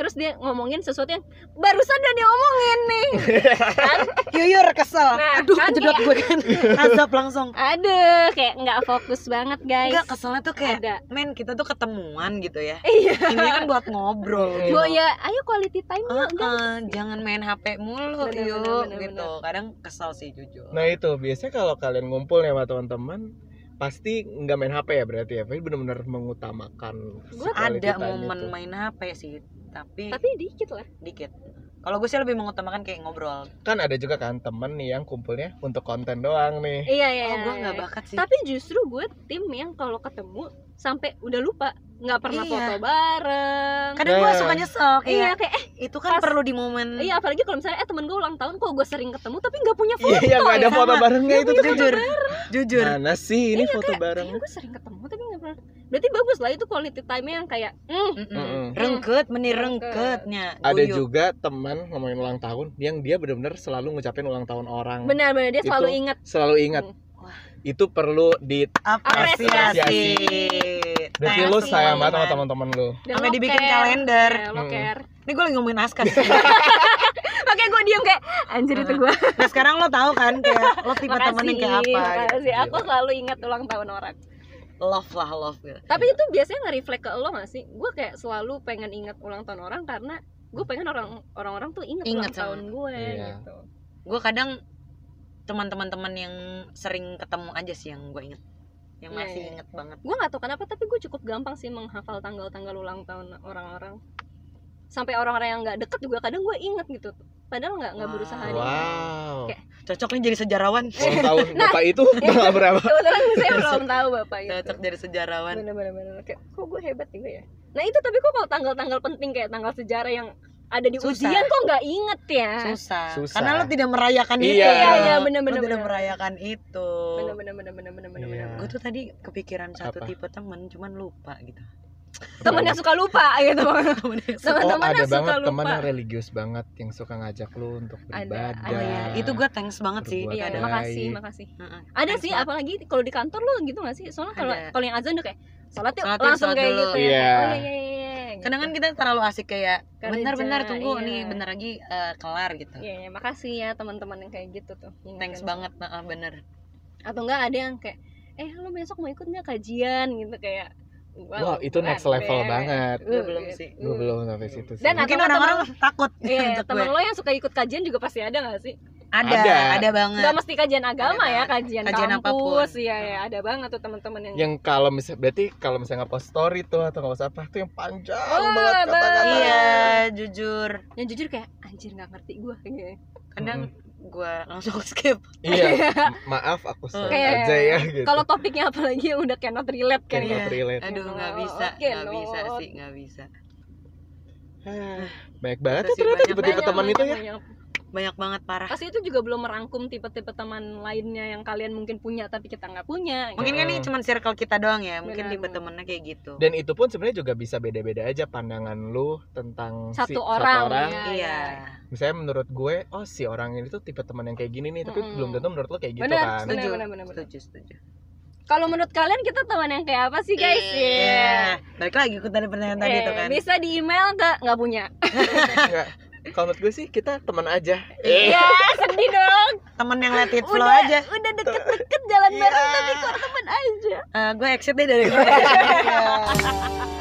[SPEAKER 3] terus dia ngomongin sesuatu yang barusan udah diomongin nih
[SPEAKER 1] yuyur kesel
[SPEAKER 3] Nah,
[SPEAKER 1] aduh
[SPEAKER 3] kan
[SPEAKER 1] kejedot gue kan azab langsung
[SPEAKER 3] aduh kayak nggak fokus banget guys
[SPEAKER 1] Enggak keselnya tuh kayak
[SPEAKER 3] ada
[SPEAKER 1] men kita tuh ketemuan gitu ya
[SPEAKER 3] iya
[SPEAKER 1] ini kan buat ngobrol
[SPEAKER 2] Iya.
[SPEAKER 1] gitu.
[SPEAKER 3] Gua ya ayo quality time yuk
[SPEAKER 1] Eh, eh, jangan main HP mulu
[SPEAKER 3] Bener,
[SPEAKER 1] yuk
[SPEAKER 3] bener, bener,
[SPEAKER 1] gitu kadang kesel sih jujur
[SPEAKER 2] Nah itu biasanya kalau kalian ngumpul nih sama teman-teman pasti nggak main HP ya berarti ya. Tapi benar-benar mengutamakan.
[SPEAKER 3] Gua
[SPEAKER 2] si quality
[SPEAKER 1] ada
[SPEAKER 2] time
[SPEAKER 1] momen
[SPEAKER 2] itu.
[SPEAKER 1] main HP sih tapi
[SPEAKER 3] tapi dikit lah
[SPEAKER 1] dikit kalau gue sih lebih mengutamakan kayak ngobrol
[SPEAKER 2] Kan ada juga kan temen nih yang kumpulnya untuk konten doang nih.
[SPEAKER 3] iya iya
[SPEAKER 1] oh gue
[SPEAKER 3] iya,
[SPEAKER 1] nggak
[SPEAKER 3] iya.
[SPEAKER 1] bakat sih
[SPEAKER 3] tapi justru gue tim yang kalau ketemu sampai udah lupa nggak pernah
[SPEAKER 1] Iya.
[SPEAKER 3] foto bareng
[SPEAKER 1] kadang gue
[SPEAKER 2] Nah.
[SPEAKER 1] suka nyesel
[SPEAKER 3] iya
[SPEAKER 1] kayak
[SPEAKER 3] kayak eh
[SPEAKER 1] itu kan
[SPEAKER 3] pas-
[SPEAKER 1] perlu di momen
[SPEAKER 3] iya apalagi kalau misalnya eh temen gue ulang tahun kok gue sering ketemu tapi nggak punya foto ya kan?
[SPEAKER 2] Iya, yang nggak ada
[SPEAKER 1] oh, sama.
[SPEAKER 2] foto barengnya itu tuh kan.
[SPEAKER 1] jujur jujur Iya, gitu.
[SPEAKER 2] Mana sih ini foto bareng?
[SPEAKER 3] Kayaknya gue sering ketemu tapi nggak pernah berarti bagus lah itu quality time yang kayak mm,
[SPEAKER 1] Mm-mm.
[SPEAKER 2] Mm-mm.
[SPEAKER 1] rengket meni rengketnya
[SPEAKER 2] Ada
[SPEAKER 1] guyup.
[SPEAKER 2] juga teman ngomongin ulang tahun yang dia benar-benar selalu ngucapin ulang tahun orang.
[SPEAKER 3] benar-benar dia selalu
[SPEAKER 2] Itu-
[SPEAKER 3] ingat
[SPEAKER 2] Selalu ingat.
[SPEAKER 3] Hmm.
[SPEAKER 1] Wah.
[SPEAKER 2] Itu perlu di
[SPEAKER 1] apresiasi
[SPEAKER 2] Apresiasi. berarti lu
[SPEAKER 1] Thanks,
[SPEAKER 2] sayang banget sama
[SPEAKER 1] teman-teman.
[SPEAKER 2] teman-teman lu.
[SPEAKER 3] dan
[SPEAKER 1] sampai
[SPEAKER 3] lo
[SPEAKER 1] dibikin
[SPEAKER 3] care.
[SPEAKER 1] kalender Hmm.
[SPEAKER 3] Ya, lo
[SPEAKER 2] Mm.
[SPEAKER 3] care
[SPEAKER 1] ini gue lagi ngomongin naskah sih.
[SPEAKER 3] oke gue diem kayak anjir itu gue
[SPEAKER 1] nah sekarang lo tahu kan kayak lo tipe temen
[SPEAKER 3] makasih
[SPEAKER 1] yang kayak apa gitu.
[SPEAKER 3] makasih aku selalu ingat ulang tahun orang
[SPEAKER 1] love lah love gitu.
[SPEAKER 3] tapi itu biasanya nge-reflect ke lo gak sih gue kayak selalu pengen ingat ulang tahun orang karena gue pengen orang orang-orang tuh ingat
[SPEAKER 1] Ingat
[SPEAKER 3] ulang
[SPEAKER 1] sama.
[SPEAKER 3] tahun gue
[SPEAKER 2] Iya.
[SPEAKER 3] gitu
[SPEAKER 1] gue kadang teman-teman teman yang sering ketemu aja sih yang gue inget yang
[SPEAKER 3] Iya,
[SPEAKER 1] masih
[SPEAKER 3] iya.
[SPEAKER 1] inget banget
[SPEAKER 3] gue gak tau kenapa tapi gue cukup gampang sih menghafal tanggal-tanggal ulang tahun orang-orang sampai orang-orang yang nggak deket juga kadang gue inget gitu padahal nggak nggak berusaha
[SPEAKER 1] Wow.
[SPEAKER 3] deh.
[SPEAKER 2] Wow.
[SPEAKER 3] Kayak-
[SPEAKER 1] cocok nih jadi sejarawan
[SPEAKER 3] Oh,
[SPEAKER 2] Ulang
[SPEAKER 1] Nah.
[SPEAKER 2] tahun bapak itu tanggal berapa?
[SPEAKER 3] kebetulan saya belum tahu bapak itu
[SPEAKER 1] cocok jadi sejarawan
[SPEAKER 3] bener-bener bener. kayak kok gue hebat juga ya nah itu tapi kok kalau tanggal-tanggal penting kayak tanggal sejarah yang ada di
[SPEAKER 1] Susah.
[SPEAKER 3] ujian kok nggak inget ya
[SPEAKER 1] susah.
[SPEAKER 2] Susah.
[SPEAKER 1] karena lo tidak merayakan
[SPEAKER 2] Iya.
[SPEAKER 1] itu
[SPEAKER 2] Iya,
[SPEAKER 3] iya,
[SPEAKER 1] Lo
[SPEAKER 3] bener-bener,
[SPEAKER 1] tidak
[SPEAKER 3] bener.
[SPEAKER 1] merayakan itu
[SPEAKER 3] bener-bener bener-bener bener-bener
[SPEAKER 2] Iya.
[SPEAKER 1] gue tuh tadi kepikiran satu
[SPEAKER 2] Apa?
[SPEAKER 1] tipe temen cuman lupa gitu
[SPEAKER 3] temen yang suka lupa gitu
[SPEAKER 2] Oh
[SPEAKER 3] teman-teman
[SPEAKER 2] ada
[SPEAKER 3] yang suka
[SPEAKER 2] banget teman
[SPEAKER 3] lupa
[SPEAKER 2] yang religius banget yang suka ngajak lu untuk beribadah.
[SPEAKER 1] oh iya itu gue thanks banget sih
[SPEAKER 2] Berbuat
[SPEAKER 3] iya
[SPEAKER 1] ada
[SPEAKER 3] iya, makasih makasih
[SPEAKER 1] Heeh.
[SPEAKER 3] ada
[SPEAKER 1] Thanks
[SPEAKER 3] sih
[SPEAKER 1] banget.
[SPEAKER 3] apalagi kalau di kantor lo gitu gak sih soalnya kalau
[SPEAKER 1] Ada.
[SPEAKER 3] kalau yang azan udah kayak sholat yuk
[SPEAKER 1] Sholat yuk,
[SPEAKER 3] langsung
[SPEAKER 1] sholat
[SPEAKER 3] kayak
[SPEAKER 1] dulu.
[SPEAKER 3] gitu ya
[SPEAKER 2] Iya.
[SPEAKER 3] oh iya iya iya gitu.
[SPEAKER 1] kadang kan kita terlalu asik kayak
[SPEAKER 3] Kerja,
[SPEAKER 1] bentar-bentar tunggu
[SPEAKER 3] iya.
[SPEAKER 1] nih bentar lagi eh, kelar gitu
[SPEAKER 3] iya iya, makasih ya teman-teman yang kayak gitu tuh Ingetin.
[SPEAKER 1] thanks banget heeh, bener
[SPEAKER 3] atau enggak ada yang kayak eh lo besok mau ikut nggak kajian gitu kayak
[SPEAKER 2] Wah, itu
[SPEAKER 3] berat
[SPEAKER 2] next level
[SPEAKER 3] deh.
[SPEAKER 2] banget.
[SPEAKER 1] Gue
[SPEAKER 3] Uh,
[SPEAKER 1] belum
[SPEAKER 3] gitu.
[SPEAKER 1] sih.
[SPEAKER 2] Gue
[SPEAKER 3] Uh.
[SPEAKER 2] belum sampai situ sih.
[SPEAKER 3] Dan Nah,
[SPEAKER 1] mungkin
[SPEAKER 3] teman-teman-
[SPEAKER 1] orang-orang takut
[SPEAKER 3] Iya,
[SPEAKER 1] untuk
[SPEAKER 3] temen
[SPEAKER 1] gue.
[SPEAKER 3] lo yang suka ikut kajian juga pasti ada gak sih?
[SPEAKER 1] ada ada,
[SPEAKER 2] Ada.
[SPEAKER 1] banget
[SPEAKER 3] nggak mesti kajian agama
[SPEAKER 1] Ada
[SPEAKER 3] ya
[SPEAKER 1] banget.
[SPEAKER 3] kajian,
[SPEAKER 1] Kajian
[SPEAKER 3] kampus
[SPEAKER 1] apapun. Nah.
[SPEAKER 3] ya ya ada banget tuh teman-teman yang,
[SPEAKER 2] yang kalau misalnya berarti kalau misalnya nggak post story tuh atau nggak post apa tuh yang panjang
[SPEAKER 3] Wah,
[SPEAKER 2] banget kata-kata
[SPEAKER 1] iya jujur
[SPEAKER 3] yang jujur kayak anjir nggak ngerti gue
[SPEAKER 1] kadang gua langsung skip
[SPEAKER 2] iya maaf aku sorry
[SPEAKER 3] Kayak-
[SPEAKER 2] aja ya gitu
[SPEAKER 3] kalau topiknya apalagi yang udah cannot relate kan
[SPEAKER 1] Cannot
[SPEAKER 3] ya
[SPEAKER 2] Kayak relate.
[SPEAKER 1] aduh nggak
[SPEAKER 3] Lord,
[SPEAKER 1] bisa
[SPEAKER 3] oke,
[SPEAKER 1] nggak bisa
[SPEAKER 3] Lord.
[SPEAKER 1] sih nggak bisa
[SPEAKER 2] banyak banget ya
[SPEAKER 1] Itu sih,
[SPEAKER 2] ternyata
[SPEAKER 1] banyak
[SPEAKER 2] tipe-tipe
[SPEAKER 1] banget.
[SPEAKER 2] teman itu ya
[SPEAKER 3] banyak.
[SPEAKER 1] banyak banget parah
[SPEAKER 3] pasti itu juga belum merangkum tipe-tipe teman lainnya yang kalian mungkin punya tapi kita nggak punya gitu.
[SPEAKER 1] mungkin kan ini cuma circle kita doang ya mungkin
[SPEAKER 3] Benar,
[SPEAKER 1] tipe
[SPEAKER 3] benar.
[SPEAKER 1] temennya kayak gitu
[SPEAKER 2] dan itu pun sebenarnya juga bisa beda-beda aja pandangan lu tentang si-
[SPEAKER 3] satu orang, ya,
[SPEAKER 1] iya
[SPEAKER 2] misalnya menurut gue oh si orang ini tuh tipe teman yang kayak gini nih tapi
[SPEAKER 3] Mm-mm.
[SPEAKER 2] belum tentu menurut lo kayak gitu
[SPEAKER 3] Bener,
[SPEAKER 2] kan
[SPEAKER 3] bener.
[SPEAKER 1] setuju
[SPEAKER 3] benar.
[SPEAKER 1] setuju setuju
[SPEAKER 3] kalau menurut kalian kita teman yang kayak apa sih guys Iya.
[SPEAKER 1] Iya. balik lagi ke tadi pertanyaan tadi
[SPEAKER 3] Eh,
[SPEAKER 1] itu kan
[SPEAKER 3] bisa di email nggak nggak punya
[SPEAKER 2] Enggak. kalau menurut gue sih kita teman aja Eh,
[SPEAKER 3] ya sedih dong
[SPEAKER 1] temen yang let it flow
[SPEAKER 3] udah
[SPEAKER 1] aja
[SPEAKER 3] udah deket-deket jalan
[SPEAKER 2] Iya.
[SPEAKER 1] Uh,
[SPEAKER 3] bareng tapi kok teman aja
[SPEAKER 1] Eh, gue exit deh dari